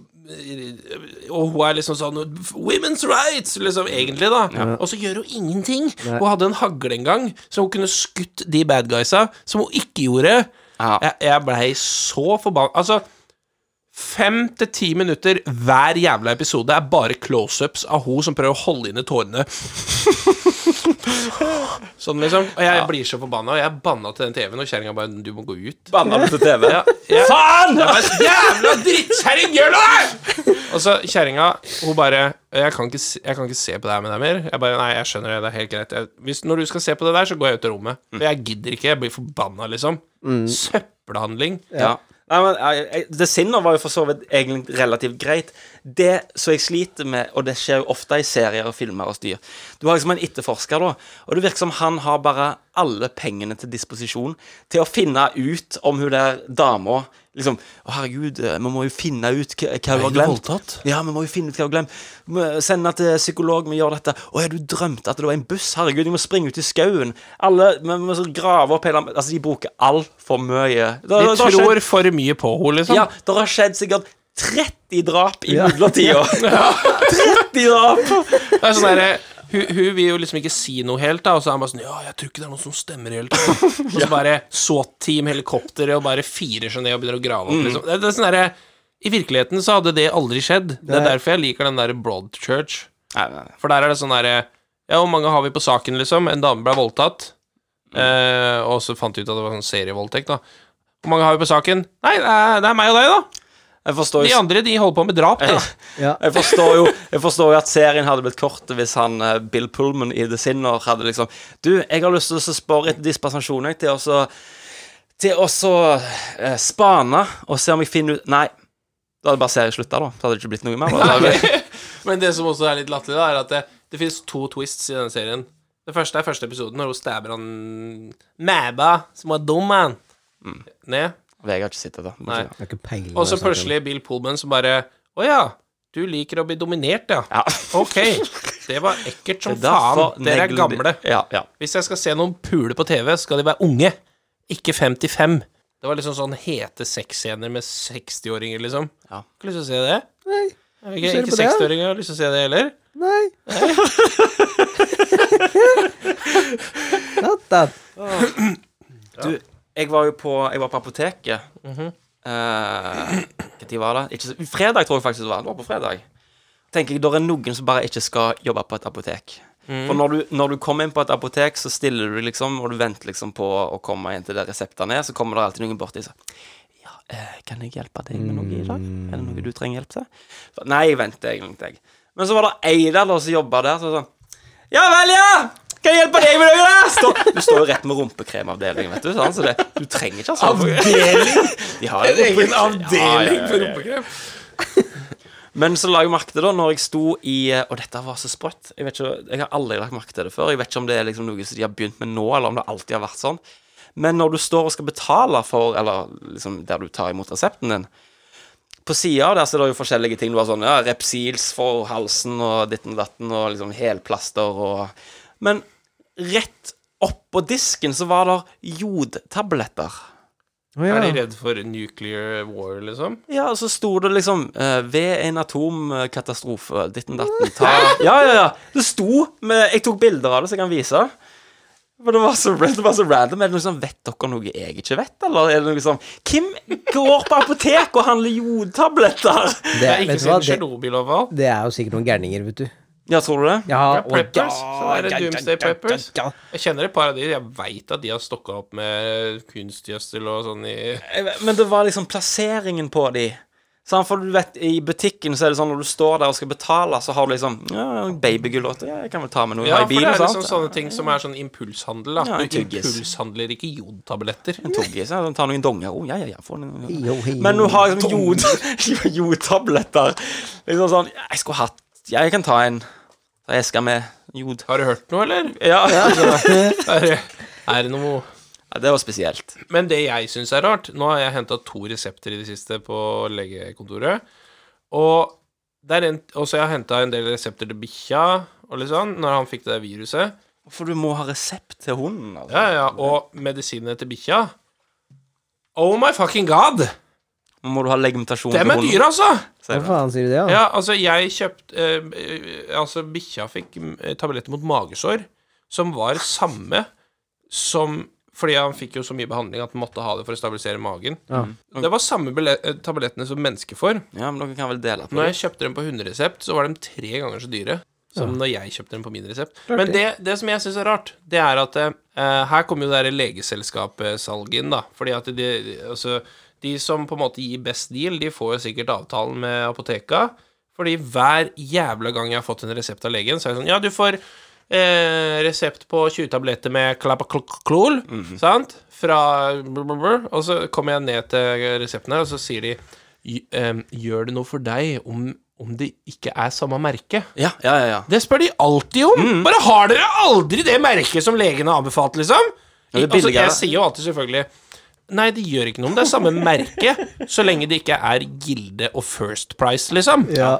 og hun er liksom sånn Women's rights! Liksom, egentlig, da. Og så gjør hun ingenting. Hun hadde en hagle en gang, så hun kunne skutt de bad guysa, som hun ikke gjorde. Ja. Jeg, jeg blei så forbanna. Altså, fem til ti minutter hver jævla episode er bare close-ups av hun som prøver å holde inne tårene. sånn, liksom. Og jeg blir så forbanna, og jeg banna til den TV-en, og kjerringa bare 'Du må gå ut'. banna på TV. Ja, jeg, Faen! Jævla drittkjerring, gjør noe! Og så kjerringa, hun bare jeg kan, ikke, se- 'Jeg kan ikke se på det her med deg mer.' Jeg bare 'Nei, jeg skjønner det. Det er helt greit.' Jeg, hvis, når du skal se på det der, så går jeg ut av rommet. For jeg gidder ikke. Jeg blir forbanna, liksom. Søppelhandling. Ja. Nei, men jeg, jeg, Det sinnet var jo for så vidt egentlig relativt greit. Det som jeg sliter med, og det skjer jo ofte i serier og filmer og styr Du har liksom en etterforsker, da, og det virker som han har bare alle pengene til disposisjon til å finne ut om hun der dama liksom Å, herregud, eh, vi må jo finne ut hva hva hun har glemt. Ja, vi må jo finne ut hva hun har glemt. Vi må Sende til psykolog, vi gjør dette. Å ja, du drømte at det var en buss. Herregud, jeg må springe ut i skauen. Alle, Vi må så grave opp hele Altså, de bruker altfor mye. Da- da- De da Altså, har skjedd- tror for mye på henne, liksom. ja, det har skjedd sikkert 30 drap i midlertida. 30 drap! Det er sånn derre- hun, hun vil jo liksom ikke si noe helt, da, og så er han bare sånn 'Ja, jeg tror ikke det er noe som stemmer helt.' Og så bare SWAT-team, helikopteret, og bare firer seg ned og begynner å grave opp, liksom. Det, det er sånn derre I virkeligheten så hadde det aldri skjedd. Det er derfor jeg liker den derre Broadchurch. For der er det sånn derre Ja, hvor mange har vi på saken, liksom? En dame ble voldtatt, eh, og så fant de ut at det var sånn serievoldtekt, da. Hvor mange har vi på saken? Nei, det er, det er meg og deg, da. Jeg forstår, De jo, andre, de holder på med drap, da. Ja. jeg, forstår jo, jeg forstår jo at serien hadde blitt kort hvis han eh, Bill Pullman i The Sinner hadde liksom Du, jeg har lyst til å spørre etter dispensasjon jeg, til å så- Til å så, eh, spane og se om jeg finner ut Nei. Da hadde bare serien slutta, da. Da hadde det ikke blitt noe mer. Da. Da hadde- Men det som også er litt latterlig, da, er at det, det finnes to twists i denne serien. Det første er første episoden, når hun stabber han Mæba, som var dum, man. Ned. Vegard har ikke sett det, da. Nei. Jeg har ikke peiling. Og så plutselig Bill Pullman som bare Å ja, du liker å bli dominert, ja. Ja. Ok. Det var ekkelt som Derfor faen. Dere er negler de- gamle. Ja, ja. Hvis jeg skal se noen pule på TV, skal de være unge. Ikke 55. Det var liksom sånn hete sexscener med 60-åringer, liksom. Ja. Ikke lyst til å se det. Nei. Jeg Ser ikke du ikke på det, ja? 60-åringer har lyst til å se det heller. Nei. Not that. Du, jeg var jo på, jeg var på apoteket. Eh, Hva tid var det? Ikke, så- fredag, tror jeg faktisk det var. Det var på fredag. Tenker jeg, Det er noen som bare ikke skal jobbe på et apotek. For når du, når du kommer inn på et apotek, så stiller du liksom, og du venter liksom på å komme inn til der resepten er, så kommer det alltid noen borti og sier Ja, eh, kan jeg hjelpe deg med noe i dag? Er det noe du trenger hjelp til? Så, Nei, vent jeg, vent jeg. Men så var det Eidal da, som jobba der, så sånn Ja vel, ja! Kan jeg hjelpe deg med noe? da?» Stå, du står jo rett med rumpekremavdelingen, vet du. Sånn, så det, du trenger ikke altså Avdeling? De har en egen avdeling for rumpekrem. Men så la jeg merke til da når jeg sto i eh, Og dette var så sprøtt. Jeg, vet ikke, jeg har aldri lagt merke til det før. Jeg vet ikke om det er liksom noe som de har begynt med nå, eller om det alltid har vært sånn. Men når du står og skal betale for Eller liksom der du tar imot resepten din På sida der så er det jo forskjellige ting. Du har sånn ja, Repsils for halsen og ditten datten og liksom helplaster og Men rett oppå disken så var det jodtabletter. Å, ja. Er de redd for nuclear war, liksom? Ja, og så sto det liksom eh, Ved en atomkatastrofe Ditten datten ta Ja, ja, ja Det sto med, Jeg tok bilder av det så jeg kan vise For det var så, det var så random Er det noe sånn Vet dere noe jeg ikke vet? Eller er det noe sånn Hvem går på apotek og handler jodtabletter? Det, Det er ikke vet du hva, siden det, Tsjernobyl og hva? det er jo sikkert noen gærninger, vet du. Ja, tror du det? Ja, Ja, altså. og ja, Preppers. Så er det Doomsday Preppers. Jeg kjenner et par av de. Jeg veit at de har stokka opp med kunstgjødsel og sånn i Jeg- Men det var liksom plasseringen på de Sånn, for du vet, I butikken så er det sånn når du står der og skal betale, så har du liksom ja, babygulrøtter. Ja, jeg kan vel ta med noe Ja, i for det bilen. er sant? liksom sånne ting som er sånn impulshandel, da. Ja, en du tyggis. impulshandler ikke jodtabletter. En tuggis. Ja, de tar noen donger. Oh, ja, ja, ja, få noen, ja. Jo, hei, Men hun har liksom jod- jodtabletter. Liksom sånn Jeg skulle hatt Jeg kan ta en ta eske med jod. Har du hørt noe, eller? Ja. Er det, er det noe ja, det var spesielt. Men det jeg syns er rart Nå har jeg henta to resepter i det siste på legekontoret. Og det er en, også jeg har henta en del resepter til bikkja og litt sånn, når han fikk det der viruset. For du må ha resept til hunden. Altså. Ja, ja, Og medisinene til bikkja Oh my fucking god! Nå Må du ha legumentasjon til Dem er hunden? dyre, altså! Hva faen sier du det, da? Ja, altså, jeg kjøpte eh, Altså, bikkja fikk eh, tabletter mot magesår, som var samme som Fordi han fikk jo så mye behandling at han måtte ha det for å stabilisere magen. Ja. Det var samme bele- eh, tablettene som mennesker får. Ja, men dere kan vel dele på Når det? jeg kjøpte dem på hunderesept, så var de tre ganger så dyre som når jeg kjøpte dem på min resept. Men det, det som jeg syns er rart, det er at eh, her kommer jo det derre legeselskapssalget inn, da. Fordi at de, altså, de som på en måte gir best deal, de får jo sikkert avtalen med apoteka. Fordi hver jævla gang jeg har fått en resept av legen, så er det sånn Ja, du får eh, resept på 20 tabletter med klapaklol, sant? Fra blablabla. Og så kommer jeg ned til resepten her, og så sier de "Gj- eh, Gjør det noe for deg om, om det ikke er samme merke? Ja, ja, ja, ja. Det spør de alltid om! Mm. Bare har dere aldri det merket som legene har anbefalt, liksom? Ja, det er altså, billigere. jeg sier jo alltid selvfølgelig Nei, det gjør ikke noe om det er samme merke, så lenge det ikke er Gilde og First Price, liksom. Ja.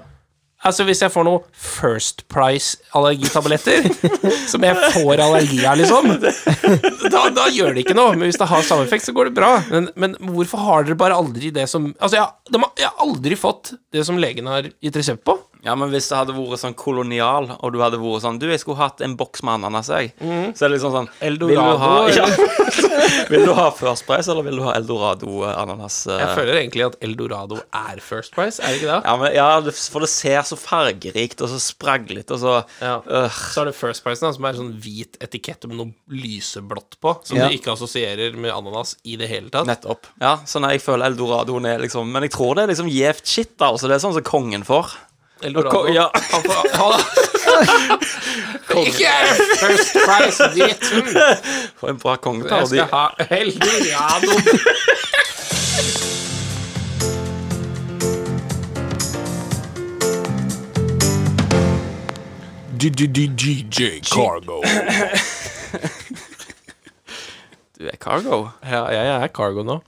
Altså Hvis jeg får noe First Price allergitabletter, som jeg får allergi av, liksom, da, da gjør det ikke noe. Men hvis det har samme effekt, så går det bra. Men, men hvorfor har dere bare aldri det som Altså, jeg, har- de har, jeg har aldri fått det som legen har gitt resept på. Ja, men hvis det hadde vært sånn kolonial, og du hadde vært sånn Du, jeg skulle hatt en boks med ananas, jeg. Så er det liksom sånn Eldorado, Vil du ha, Mhm. eller? ja. vil du ha First Price, eller vil du ha eh, Eldorado-ananas? Jeg føler egentlig at Eldorado er First Price, er det ikke det? Ja, men, ja, det- for det ser så fargerikt og så spraglete og så Ja. øh, Så er det First Price, da, som er en sånn hvit etikett med noe lyseblått på, som Ja. du ikke assosierer med ananas i det hele tatt. Nettopp. Ja, sånn jeg føler eldoradoen er liksom Men jeg tror det er liksom gjevt shit, altså. Det er sånn som kongen får. Eldorado. Ko- ja. Han får- han- Ikke er det First Price, dritten! For en bra konge tar Jeg de. skal ha Eldorado. DJ Cargo. Du er cargo. Ja, jeg er Cargo nå.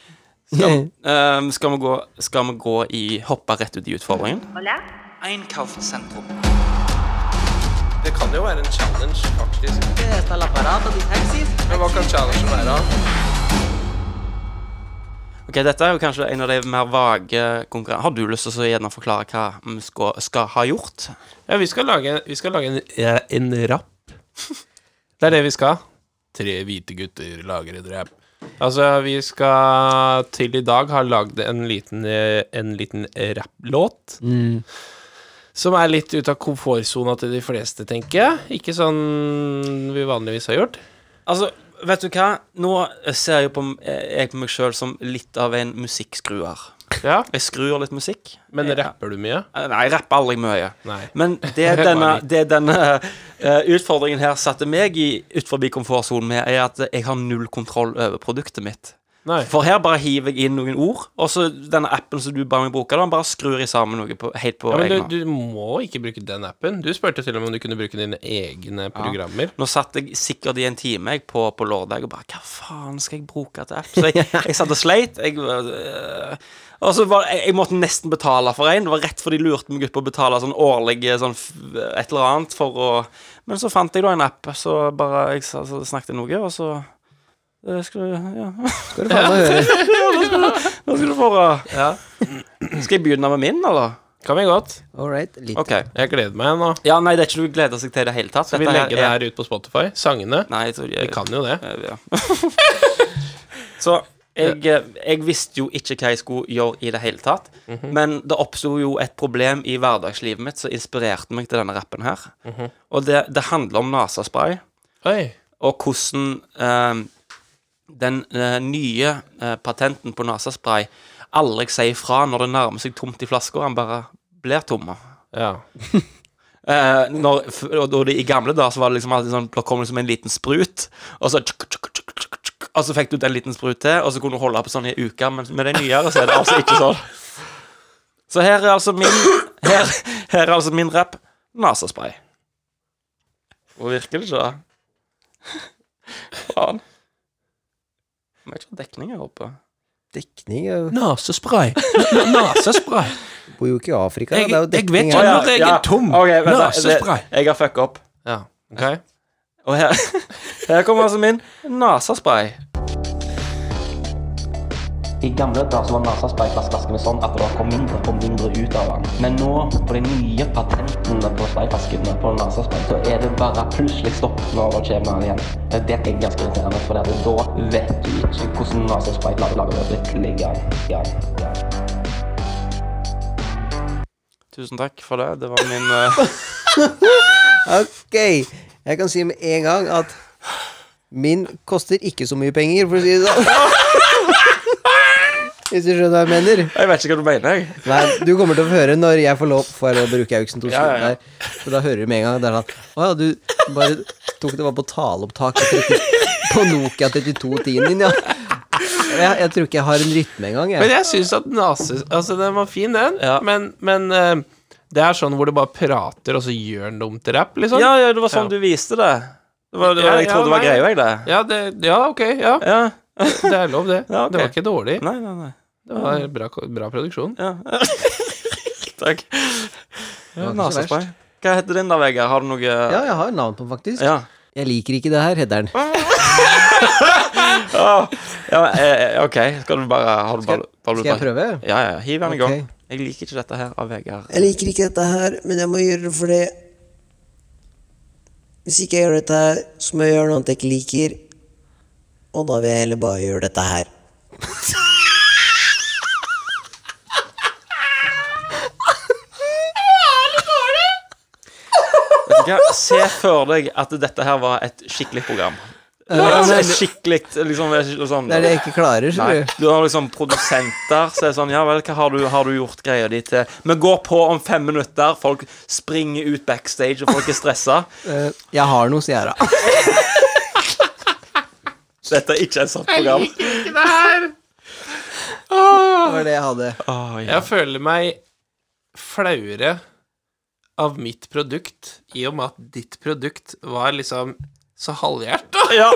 Ehm, skal, vi gå, skal vi gå i Hoppe rett ut i utfordringen? Einkaufszentrum. Det kan jo være en challenge, faktisk. Está el aparato de taxis. Men hva kan challengen være? Ok, Dette er jo kanskje en av de mer vage konkurransene. Har du lyst til å så gjerne forklare hva vi skal, skal ha gjort? Ja, vi skal lage, vi skal lage en, eh, en rapp. Det er det vi skal. Tre hvite gutter lager en rapp. Altså, vi skal til i dag ha lagd en liten, eh, en liten rapplåt. Som er litt ut av komfortsona til de fleste, tenker jeg. Ikke sånn vi vanligvis har gjort. Altså, vet du hva? Nå ser jeg på, eh, jeg på meg sjøl som litt av en musikkskruer. Ja, Jeg skrur litt musikk. Men jeg, rapper du mye? Eh, Nei, jeg rapper aldri mye. Nei. Men det er Bare denne, litt. det er denne eh, utfordringen her satte meg i utenfor komfortsonen med, er at jeg har null kontroll over produktet mitt. Nei. For her bare hiver jeg inn noen ord, og så denne appen som du ba meg bruke, den bare skrur jeg sammen noe på, helt på Ja, men egen hånd. du, du må ikke bruke den appen. Du spurte til og med om du kunne bruke dine egne programmer. Nå satt jeg sikkert i en time jeg, på, på lørdag og bare Hva faen skal jeg bruke til app? Så jeg, jeg satt og sleit. Jeg, øh, og så var, jeg, jeg måtte nesten betale for en. Det var rett før de lurte meg ut på å betale sånn årlig eh, sånn, f- et eller annet for å Men så fant jeg da en app, så bare jeg, sa- så snakket jeg noe, og så eh, skal du, ja. Skal du faen meg høre. Hva skal du få? eh? Skal jeg begynne med min, eller? Kan vi godt. All right. Litt. OK. Jeg gleder meg nå. Ja, nei, det er ikke noe å glede seg til i det hele tatt. Skal vi Dette her legge det er- her ut på Spotify? Sangene? Nei, jeg tror jeg, Vi kan jo det. Eh, Ja. Så jeg, eh, jeg visste jo ikke hva jeg skulle gjøre i det hele tatt. Men det oppsto jo et problem i hverdagslivet mitt som inspirerte meg til denne rappen her. Og det, det handler om nasaspray, Oi. og hvordan eh, den eh, nye eh, patenten på nasaspray aldri sier fra når det nærmer seg tomt i flaska, han bare blir tomme. Ja. Eh, når, f- og, og det, I gamle dager så var det liksom alltid sånn Da kom det som en liten sprut, og så tsk, tsk, tsk, tsk, tsk, Og så fikk du ut en liten sprut til, og så kunne du holde på sånn i en uke. Men med det nyere så er det altså ikke sånn. Så her er altså min Her, her er altså min rap nasaspray. Og virker det ikke, da? Faen. Det er ikke noe dekning her oppe. Dekning Jeg Nasespray. Nasespray. bor jo ikke i Afrika. da. det er jo dekning vet her. jo at jeg er tom. Ok, vent da. Nasespray. Det- Jeg har fucka opp. Ja. Ok. Og her, her kommer altså min nasaspray. I gamle dager så var nasaspray-flasken sånn at det kom mindre og mindre ut av den. Men nå, på de nye patentene på sprayflaskene på nasaspray, så er det bare plutselig stopp når det kommer den igjen. Det er ganske irriterende, for det at da vet du ikke hvordan nasaspray lager lager det ytterligere. Ja, ja. Tusen takk for det. Det var min eh, Ok, jeg kan si med en gang at min koster ikke så mye penger, for å si det sånn. Hvis du skjønner hva jeg mener. Jeg vet ikke hva du mener, jeg. Nei, du kommer til å få høre når jeg får lov Får jeg lov å bruke Augsten Thorsen Ja, ja, ja. der. For da hører du med en gang. Det er sånn Å ja, du bare tok det bare på taleopptak på 30 på Nokia 3210-en din, ja. Jeg, jeg tror ikke jeg har en rytme engang, Men jeg. jeg syns at nase... Altså, den var fin, den. Ja. Men, men eh, det er sånn hvor du bare prater, og så gjør den det om til rapp, liksom. Ja, ja, det var sånn Ja. du viste det. det, var, det var, Ja, jeg ja, trodde det var nei. greia, jeg, det. Ja, det, ja ok. Ja, Ja. det er lov, det. Ja, ok. Det var ikke dårlig. Nei, nei, nei. Det var bra, bra produksjon. Ja. takk. Det var ikke så verst. Nasaspray. Hva heter din da, Vegard? Har du noe Ja, jeg har navn på den, faktisk. Ja. Jeg liker ikke det her, heter den. Ja, men, eh, OK. Skal du bare Har du bare Skal jeg prøve? Ja, ja. ja. Hiv den i gang. Ok. Jeg liker ikke dette her av Vegard. Jeg liker ikke dette her, men jeg må gjøre det fordi Hvis ikke jeg gjør dette her, så må jeg gjøre noe annet jeg ikke liker. Og da vil jeg heller bare gjøre dette her. Vet du hva? Se for deg at dette her var et skikkelig program. Altså, et skikkelig liksom sånn Det er Eh, det jeg ikke klarer, Nei. skjønner du. Du har liksom produsenter som er sånn Ja vel, hva har du, har du gjort greia di til Vi går på om fem minutter. Folk springer ut backstage, og folk er stressa. Eh, Jeg har noe, sier jeg da. Dette er ikke et sånt program. Det var det jeg hadde. Å, ja. Jeg føler meg flauere av mitt produkt, i og med at ditt produkt var liksom så halvhjerta. Ja.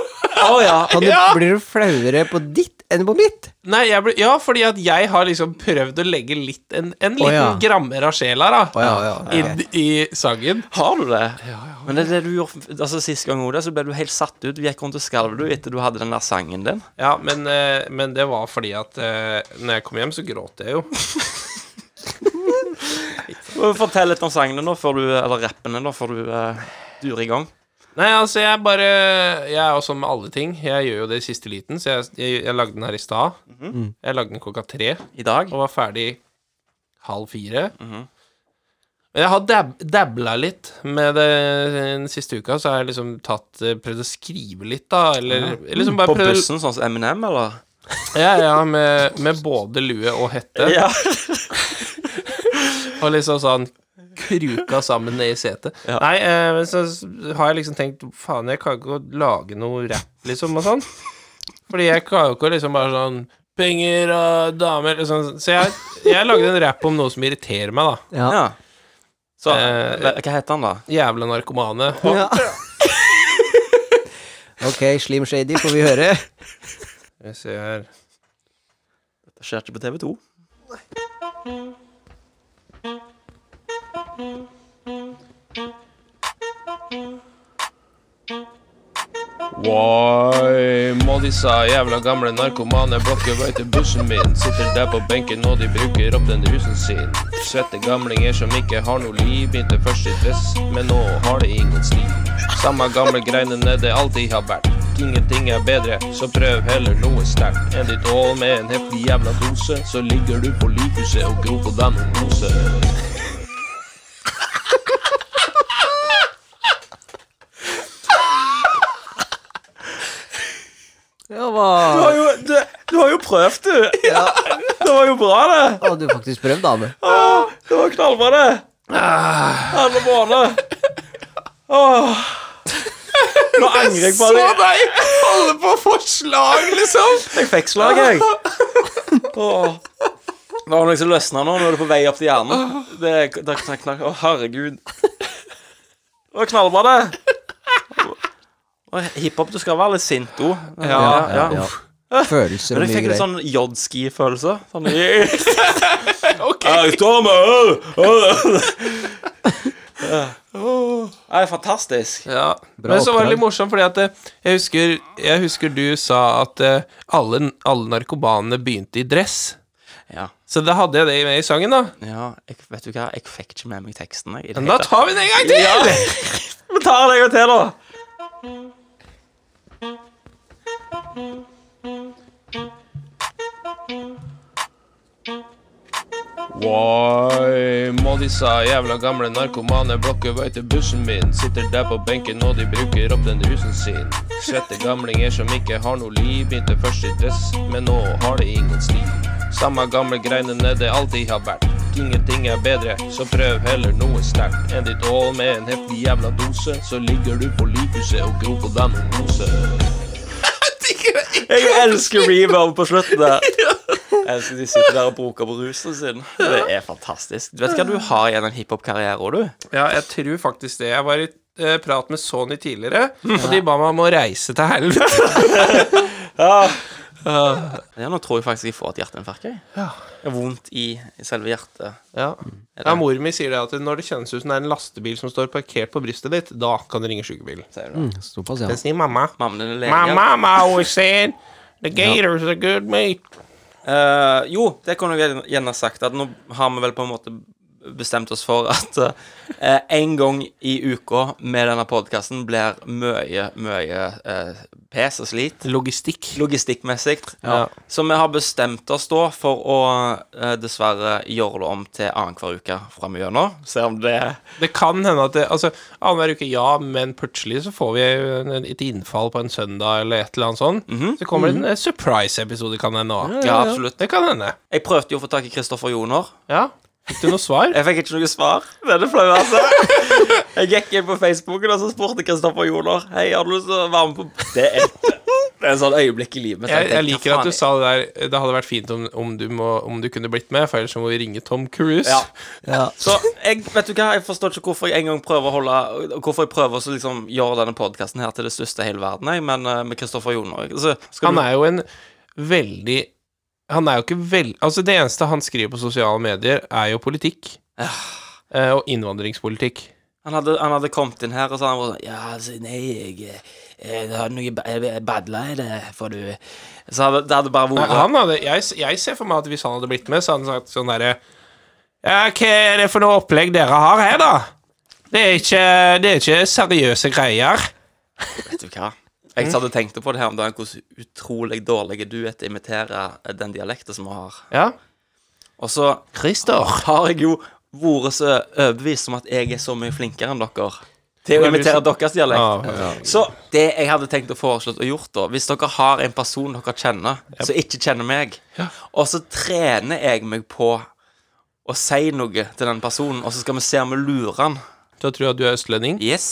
Å, ja. Kan du, Blir du flauere på ditt enn på mitt? Nei, jeg ble, ja, fordi at jeg har liksom prøvd å legge litt en, en liten ja. grammer av sjela, da, ja, ja, ja. inn i sangen. Har du det? Men det er det du gjorde Altså Sist gang også, så ble du helt satt ut. Du gikk rundt og skalv du etter du hadde den der sangen din. Ja, men, eh, men det var fordi at eh, når jeg kom hjem, så gråt jeg jo. Fortell litt om sangene nå, før du eller rappene, da, før du eh, durer i gang. Nei, altså, jeg bare Jeg er jo sånn med alle ting. Jeg gjør jo det i siste liten, så jeg, jeg, jeg lagde den her i stad. Mhm. Jeg lagde den klokka tre. I dag. Mhm. og var ferdig halv fire. Men jeg har dab dabla litt med det den siste uka, så har jeg liksom tatt eh, Prøvd å skrive litt, da, eller liksom bare På prøvd- bussen, sånn som Eminem, eller? Ja, ja, med, med både lue og hette. Ja. Og liksom sånn kruka sammen ned i setet. Nei, eh, så s- har jeg liksom tenkt Faen, jeg kan ikke lage noe rap, liksom, og sånn. Fordi jeg kan jo ikke liksom bare sånn Penger og damer liksom. Så jeg, jeg lagde en rap om noe som irriterer meg, da. Ja. Ja. Så Eh, hva hva heter han, da? Jævla narkomane. ja. Ok, Slim Shady får vi høre. Jeg ser her Det skjer ikke på TV 2. Why må disse jævla gamle narkomane blokke vei til bussen min? Sitter der på benken og de bruker opp den rusen sin. Svette gamlinger som ikke har noe liv. Begynte først i dress, men nå har de ingen stil. Samme gamle greinene det alltid har vært. Ingenting er bedre, så prøv heller noe sterkt. En ditt ål med en heftig jævla dose, så ligger du på likhuset og gror på den rose. Ja, hva Du, har jo prøvd, du! Det var jo bra, det! hadde du faktisk prøvd, Ane? Det var knallbra, det! Ah. Alle måneder. Nå angrer jeg på det. deg holde på å få slag, liksom! Ah. Jeg fikk slag, jeg. Åh. Det var noe som løsna nå. Nå er du på vei opp til hjernen. Ah. Det, det knakk, knakk. Å, herregud. Det var knallbra, det. Og hiphop, du skal være litt sint òg. Ja, ja, ja. Følelser Men og jeg mye fikk litt greier. sånn jodski-følelse. Sånn OK. Jeg står med øl! øl. Ja, Det er fantastisk. Ja, men så var oppdrag. det litt morsomt, fordi at eh, jeg husker, jeg husker du sa at eh, alle, alle narkomanene begynte i dress. Ja. Så da hadde jeg det med i sangen, da. ja jeg, vet du hva, jeg fikk ikke med meg teksten. Jeg, i det Men hele da tatt. tar vi den en gang til! Vi tar det en gang til, da. Why må disse jævla gamle narkomane blokke vei til bussen min? Sitter der på benken og de bruker opp den rusen sin. Svette gamlinger som ikke har noe liv. Begynte først i dress, men nå har de ingen stil. Samme gamle greinene det alltid har vært. Ingenting er bedre, så prøv heller noe sterkt. Enn ditt ål med en heftig jævla dose, så ligger du på likhuset og gror på den rose. Jeg elsker reverb på slutten der. Jeg elsker de sitter der og bruker på rusen sin. Det er fantastisk. Du vet hva du har igjen en hiphop-karriere òg, du? Ja, jeg tror faktisk det. Jeg var i eh, prat med Sony tidligere, og de ba meg om å reise til helvete. Ja, nå tror jeg faktisk jeg får et hjerteinfarkt. jeg. Det er Vondt i i selve hjertet. Ja. Mm. ja, mor mi sier det at når det kjennes ut som det er en lastebil som står parkert på brystet ditt, da kan du ringe sykebilen. sånn- Såpass, ja. Den sier mamma. Mm. Mamma din er lege. My mama always said the gators are good meat. Eh, jo, det kunne jeg gjerne sagt. At nå har vi vel på en måte bestemt oss for at eh, en gang i uka med denne podkasten blir mye, mye eh, pes og slit. Logistikk. Logistikkmessig. Så vi har bestemt oss da for å eh, dessverre gjøre det om til annenhver uke framigjennom. Se om det Det kan hende at det, altså, annenhver uke ja, men plutselig så får vi en- en- et innfall på en søndag eller et eller annet sånt. Så kommer det en eh, surprise-episode, kan hende òg. Mhm. Ja, absolutt. Det kan hende. Jeg prøvde jo å få tak i Kristoffer Joner. Ja. Fikk du noe svar? Jeg fikk ikke noe svar. Det er det flaue, altså. Jeg gikk inn på Facebooken og så spurte Kristoffer Joner Hei, har du lyst til å være med på Det er et, det er en sånn øyeblikk i livet. Jeg, jeg tenkte, liker hva at du faen sa det der Det hadde vært fint om, om, du, må, om du kunne blitt med, for ellers så må vi ringe Tom Cruise. Ja. Så jeg, vet du hva, jeg forstår ikke hvorfor jeg en gang prøver å holde Hvorfor jeg prøver å så liksom gjøre denne podkasten her til det største i hele verden, jeg, men eh, med Kristoffer Joner så skal Han du- er jo en veldig Han er jo ikke veld... Altså, det eneste han skriver på sosiale medier, er jo politikk. Eh, og innvandringspolitikk. han, hadde, han hadde kommet inn her og så hadde han vært sånn Ja, altså, nei, jeg, jeg, jeg har noe ba- jeg badla i det, får du Så hadde, det hadde bare Nei, vært han hadde, jeg, jeg ser for meg at hvis han hadde blitt med, så hadde han sagt sånn derre Ja, hva er det for noe opplegg dere har her, da? Det er ikke, det er ikke seriøse greier. Vet du hva? Jeg hadde tenkt på det her om dagen, hvordan utrolig dårlig duett eh, imiterer den dialekten som vi har. Ja. Og så Christer. har jeg jo vært så overbevist om at jeg er så mye flinkere enn dere til å imitere deres dialekt. Så det jeg hadde tenkt å foreslå og gjort, da Hvis dere har en person dere kjenner, som ikke kjenner meg, og så trener jeg meg på å si noe til den personen, og så skal vi se om vi lurer han. Da tror jeg at du er østlending. Yes.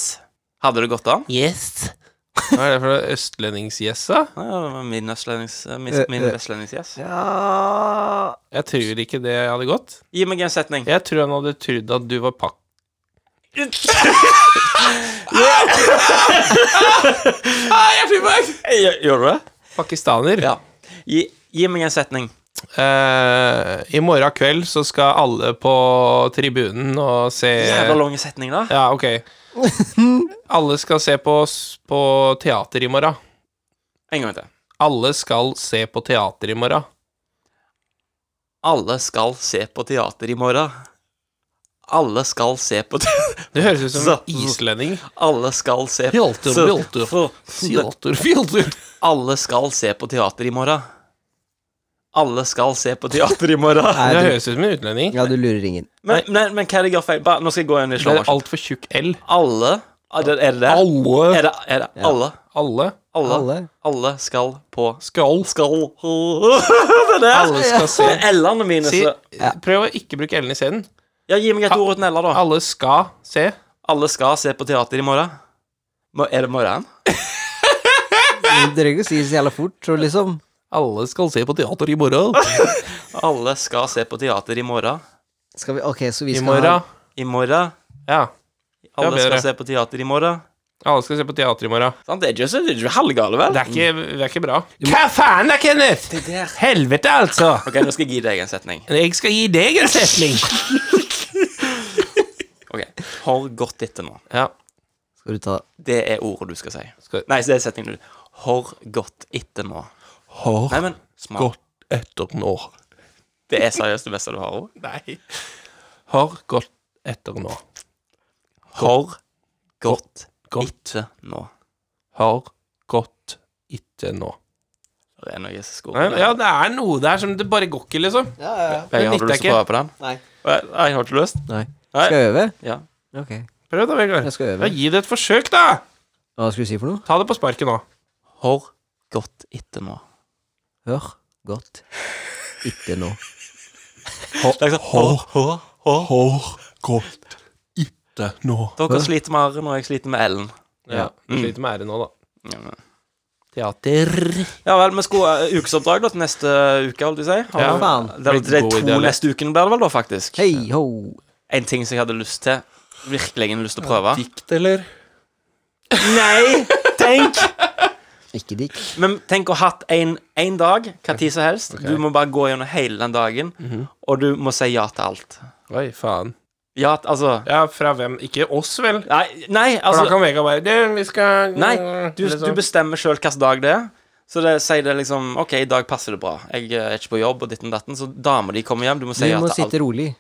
Hadde det gått an? Hva er det for noe østlendingsgjess, da? Ja, det var min østlendings... eh, Min, min vestlendings-yes. Jeg tror ikke det hadde gått. Gi meg en setning. Jeg tror han hadde trodd at du var pakk... Eh, Gjør du det? pakistaner. Ja. Gi, gi meg en setning. Eh, I morgen kveld så skal alle på tribunen og se Jævla lang setning, da. Ja, ok. Alle skal se på, s- på teater i morgen. En gang til. Alle skal se på teater i morgen. Alle skal se på teater i morgen. Alle skal se på te- Det høres ut som Så- en islending. Alle skal se Teater, så- teater. for- Teater, teater. Alle skal se på teater i morgen. Alle skal se på teater i morgen. Det Nei, du, høres ut som en utlending. ja, du lurer ingen. Men, men, men hva er det jeg gjør feil? Bare, nå skal jeg gå inn i Det er slåmaskinen. altfor tjukk L. Alle Er det er det? det? Alle. Er det, er det? Alle, Alle. alle, alle. Alle. skal på Skal. Skal Det der! Alle skal se. Men L-ene mine Si, så prøv å ikke bruke L-en isteden. Ja, gi meg et ord uten L-er, da. Alle skal se. Alle skal se på teater i morgen. Må- Er det morgenen? Du trenger ikke å si det så jævla fort, så liksom. Alle skal se på teater i morgen. Alle skal se på teater i morgen. Skal vi, ok, så vi I skal ha morgen. I morgen. Ja. Alle bedre. skal se på teater i morgen. Alle skal se på teater i morgen. Sant? Det er ikke, så- det er ikke halvgale, vel? Det er ikke, det er ikke bra. Hva faen da, Kenneth? Helvete, altså. Ok, Nå skal jeg gi deg en setning. Jeg skal gi deg en setning. Ok, Hør godt etter nå. Ja. Skal du ta Det er ordet du skal si. Skal- Nei, så det er setningen du Hør godt etter nå. Hør Nei, men smart. godt etter nå. Det er seriøst det beste du har òg. Nei. Hør godt etter nå. Hør godt Godt. etter nå. Hør godt etter nå. Det er noe som skorer Nei, deg. Ja, det er noe der som det bare går ikke, liksom. Vegard, har du nytter lyst til å ikke. prøve på den? Nei. Nei, jeg har ikke lyst. Nei. Nei. Skal jeg øve? Ja. Ok. Prøv da, Vegard. Jeg skal øve. Ja, gi det et forsøk, da. Hva skulle du si for noe? Ta det på sparket nå. Hør godt etter nå. Hør godt. Ikke nå. Hør, hør, hør. godt etter nå. Dere sliter med R-en, og jeg sliter med L-en. Ja. Mm. Du sliter med ære nå, da. Ja, men- Teater. Ja vel, vi skulle ha ukesoppdrag da, til neste uke, holdt jeg på å si. Har- Ja, faen. Det er de Blitt god to idé, eller? neste ukene blir det vel, da, faktisk. Hei ho! En ting som jeg hadde lyst til. Virkelig lyst til å prøve. Dikt, eller? Nei! Tenk! Ikke dikk. Men tenk å ha hatt en, en dag, hva tid som helst. Du må bare gå gjennom hele den dagen, Mhm. og du må si ja til alt. Oi, faen. Ja, t- altså Ja, fra hvem? Ikke oss, vel? Nei, nei For da altså kan Vegard bare Du, vi skal Nei, du, Liksom. du bestemmer sjøl hvilken dag det er. Så det sier det liksom OK, i dag passer det bra. Jeg eh, er ikke på jobb, og ditten datten. Så dama di kommer hjem, du må Du si ja må til alt. sitte rolig.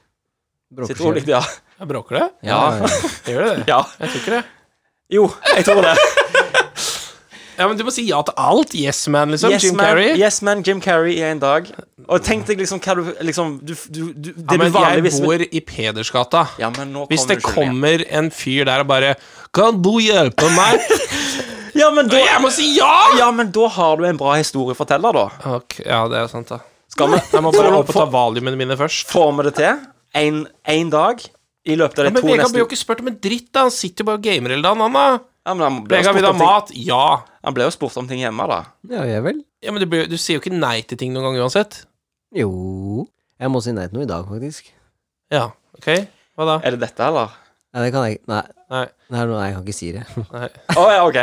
Sitt rolig, ja. Jeg bråker det? Ja. Gjør det det? ja. Jeg tror ikke det. Jo, jeg tror det. Ja, men du må si ja til alt. Yes man, liksom. yes, Jim man, Carrey. Yes man, Jim Carrey i en dag. Og tenk deg liksom hva du liksom, du, du, du, Det Ja, du men jeg vanligvis bor i Pedersgata. Ja, men nå Hvis kommer det du ikke ned. kommer en fyr der og bare Kan du hjelpe meg? ja men, da, Jeg må si ja! ja, men da har du en bra historieforteller, da. Ok, ja, det er sant, da. Skal vi Jeg må bare opp og ta valiumene mine først. Får vi det til? En, en dag? I løpet av de Men to Vegard neste blir jo ikke spurt om en dritt, da. Han sitter jo bare og gamer hele dagen, han, da. ja, men han, ble jo Vegard spurt vil ha om ting, mat. Ja. han ble jo spurt om ting hjemme, da. Ja, jeg vel? Ja, Men du, blir, du sier jo ikke nei til ting noen gang uansett. Jo. Jeg må si nei til noe i dag, faktisk. Ja, ok? Hva da? Er det dette, eller? Nei, det kan jeg Nei, Nei. det er noe jeg kan ikke si det. nei. Å ja, ok.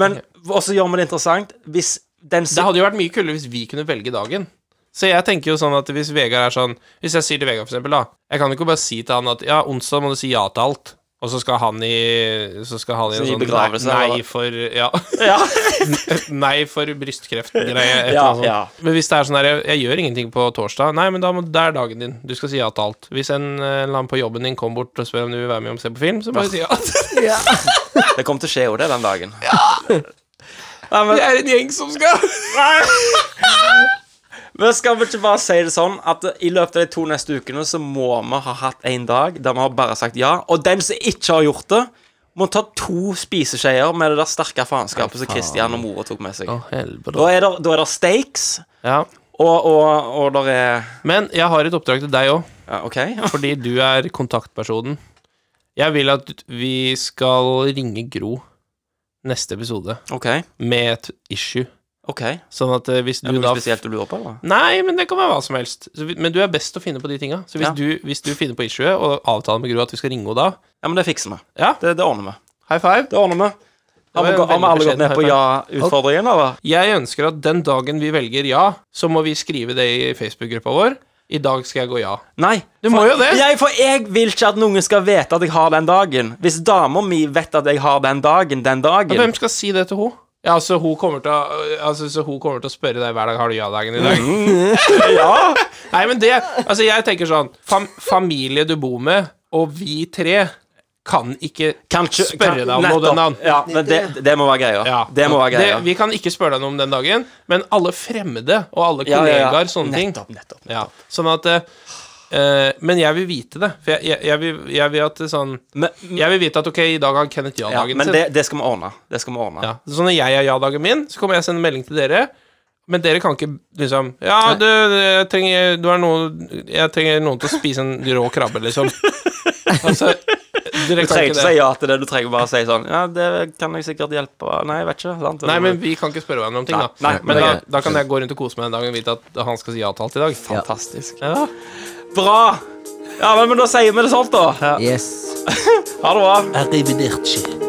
Men også gjør vi det interessant hvis den Det hadde jo vært mye kulere hvis vi kunne velge dagen. Så jeg tenker jo sånn at hvis Vegard er sånn Hvis jeg sier til Vegard, for eksempel, da Jeg kan jo ikke bare si til han at ja, onsdag må du si ja til alt, og så skal han i Så skal han i en Så i sånn begravelse, nei, nei eller? for Ja. Ja. nei for brystkreft-greie. et Ja, eller annet sånt. ja. Men hvis det er sånn her jeg, jeg gjør ingenting på torsdag, nei, men da må, det er dagen din. Du skal si ja til alt. Hvis en eh, eller annen på jobben din kommer bort og spør om du vil være med og se på film, så bare Ah. si ja. Det kommer til å skje jo det den dagen. Det er en gjeng som skal Men skal vi ikke bare si det sånn at i løpet av de to neste ukene så må vi ha hatt en dag der vi har bare sagt ja, og den som ikke har gjort det, må ta to spiseskjeer med det der sterke faenskapet som Christian og mora tok med seg. Å, helvete. Da er det, da er det steaks, Ja. og, og, og der er Men jeg har et oppdrag til deg òg, ja, OK? fordi du er kontaktpersonen. Jeg vil at vi skal ringe Gro neste episode OK. med et issue, ok sånn at eh, hvis du Er det da noe spesielt du lurer på, eller? Nei, men det kan være hva som helst. Så, vi- men du er best til å finne på de tinga. Så hvis, Ja. du, hvis du finner på issuet, og avtaler med Gro at vi skal ringe henne da Ja, men det fikser vi. Ja. Det, det ordner vi. High five. Det ordner vi. Har vi, Det var en har vi alle veldig gått med på beskjeden ja-utfordringen, eller? Jeg ønsker at den dagen vi velger ja, så må vi skrive det i Facebook-gruppa vår. I dag skal jeg gå ja. Nei. Du må jo det. Jeg, for jeg vil ikke at noen skal vite at jeg har den dagen. Hvis dama mi vet at jeg har den dagen, den Men dagen Hvem skal si det til henne? Ja, så hun kommer til å, altså, så hun kommer til å spørre deg hver dag Har du ja-dagen i dag. Mhm. Ja! Nei, men det Altså, jeg tenker sånn fam Familie du bor med, og vi tre, kan ikke Kanskje, spørre deg om noe nettopp. den dagen. Ja, men det, det må være greia. Ja. Det må være greia. Det- vi kan ikke spørre deg noe om den dagen, men alle fremmede og alle Ja, kollegaer, ja, ja. sånne Nettopp, ting. nettopp. Ja, sånn at eh, eh, Men jeg vil vite det. For jeg, jeg, jeg, vil, jeg vil at det sånn Men, Jeg vil vite at ok, i dag har Kenneth ja, ja-dagen men sin. det, det skal vi ordne. Det skal vi ordne. Ja. Så når jeg har ja-dagen min, så kommer jeg og sender melding til dere. Men dere kan ikke liksom Ja, du, jeg trenger, du er noen, jeg trenger noen til å spise en rå krabbe, liksom. Altså, dere Du kan trenger ikke ikke si det. ja til det, du trenger bare si sånn Ja, det kan jeg sikkert hjelpe Nei, jeg vet ikke. Sant? Nei, men vi kan ikke spørre hverandre om ting, da. Nei, nei, men det da, er da kan jeg gå rundt og kose meg den dagen og vite at han skal si ja til alt i dag. Fantastisk. Ja. Bra! Ja, men, men da sier vi det sånn, da. Yes. Ha det bra. Arrivederci.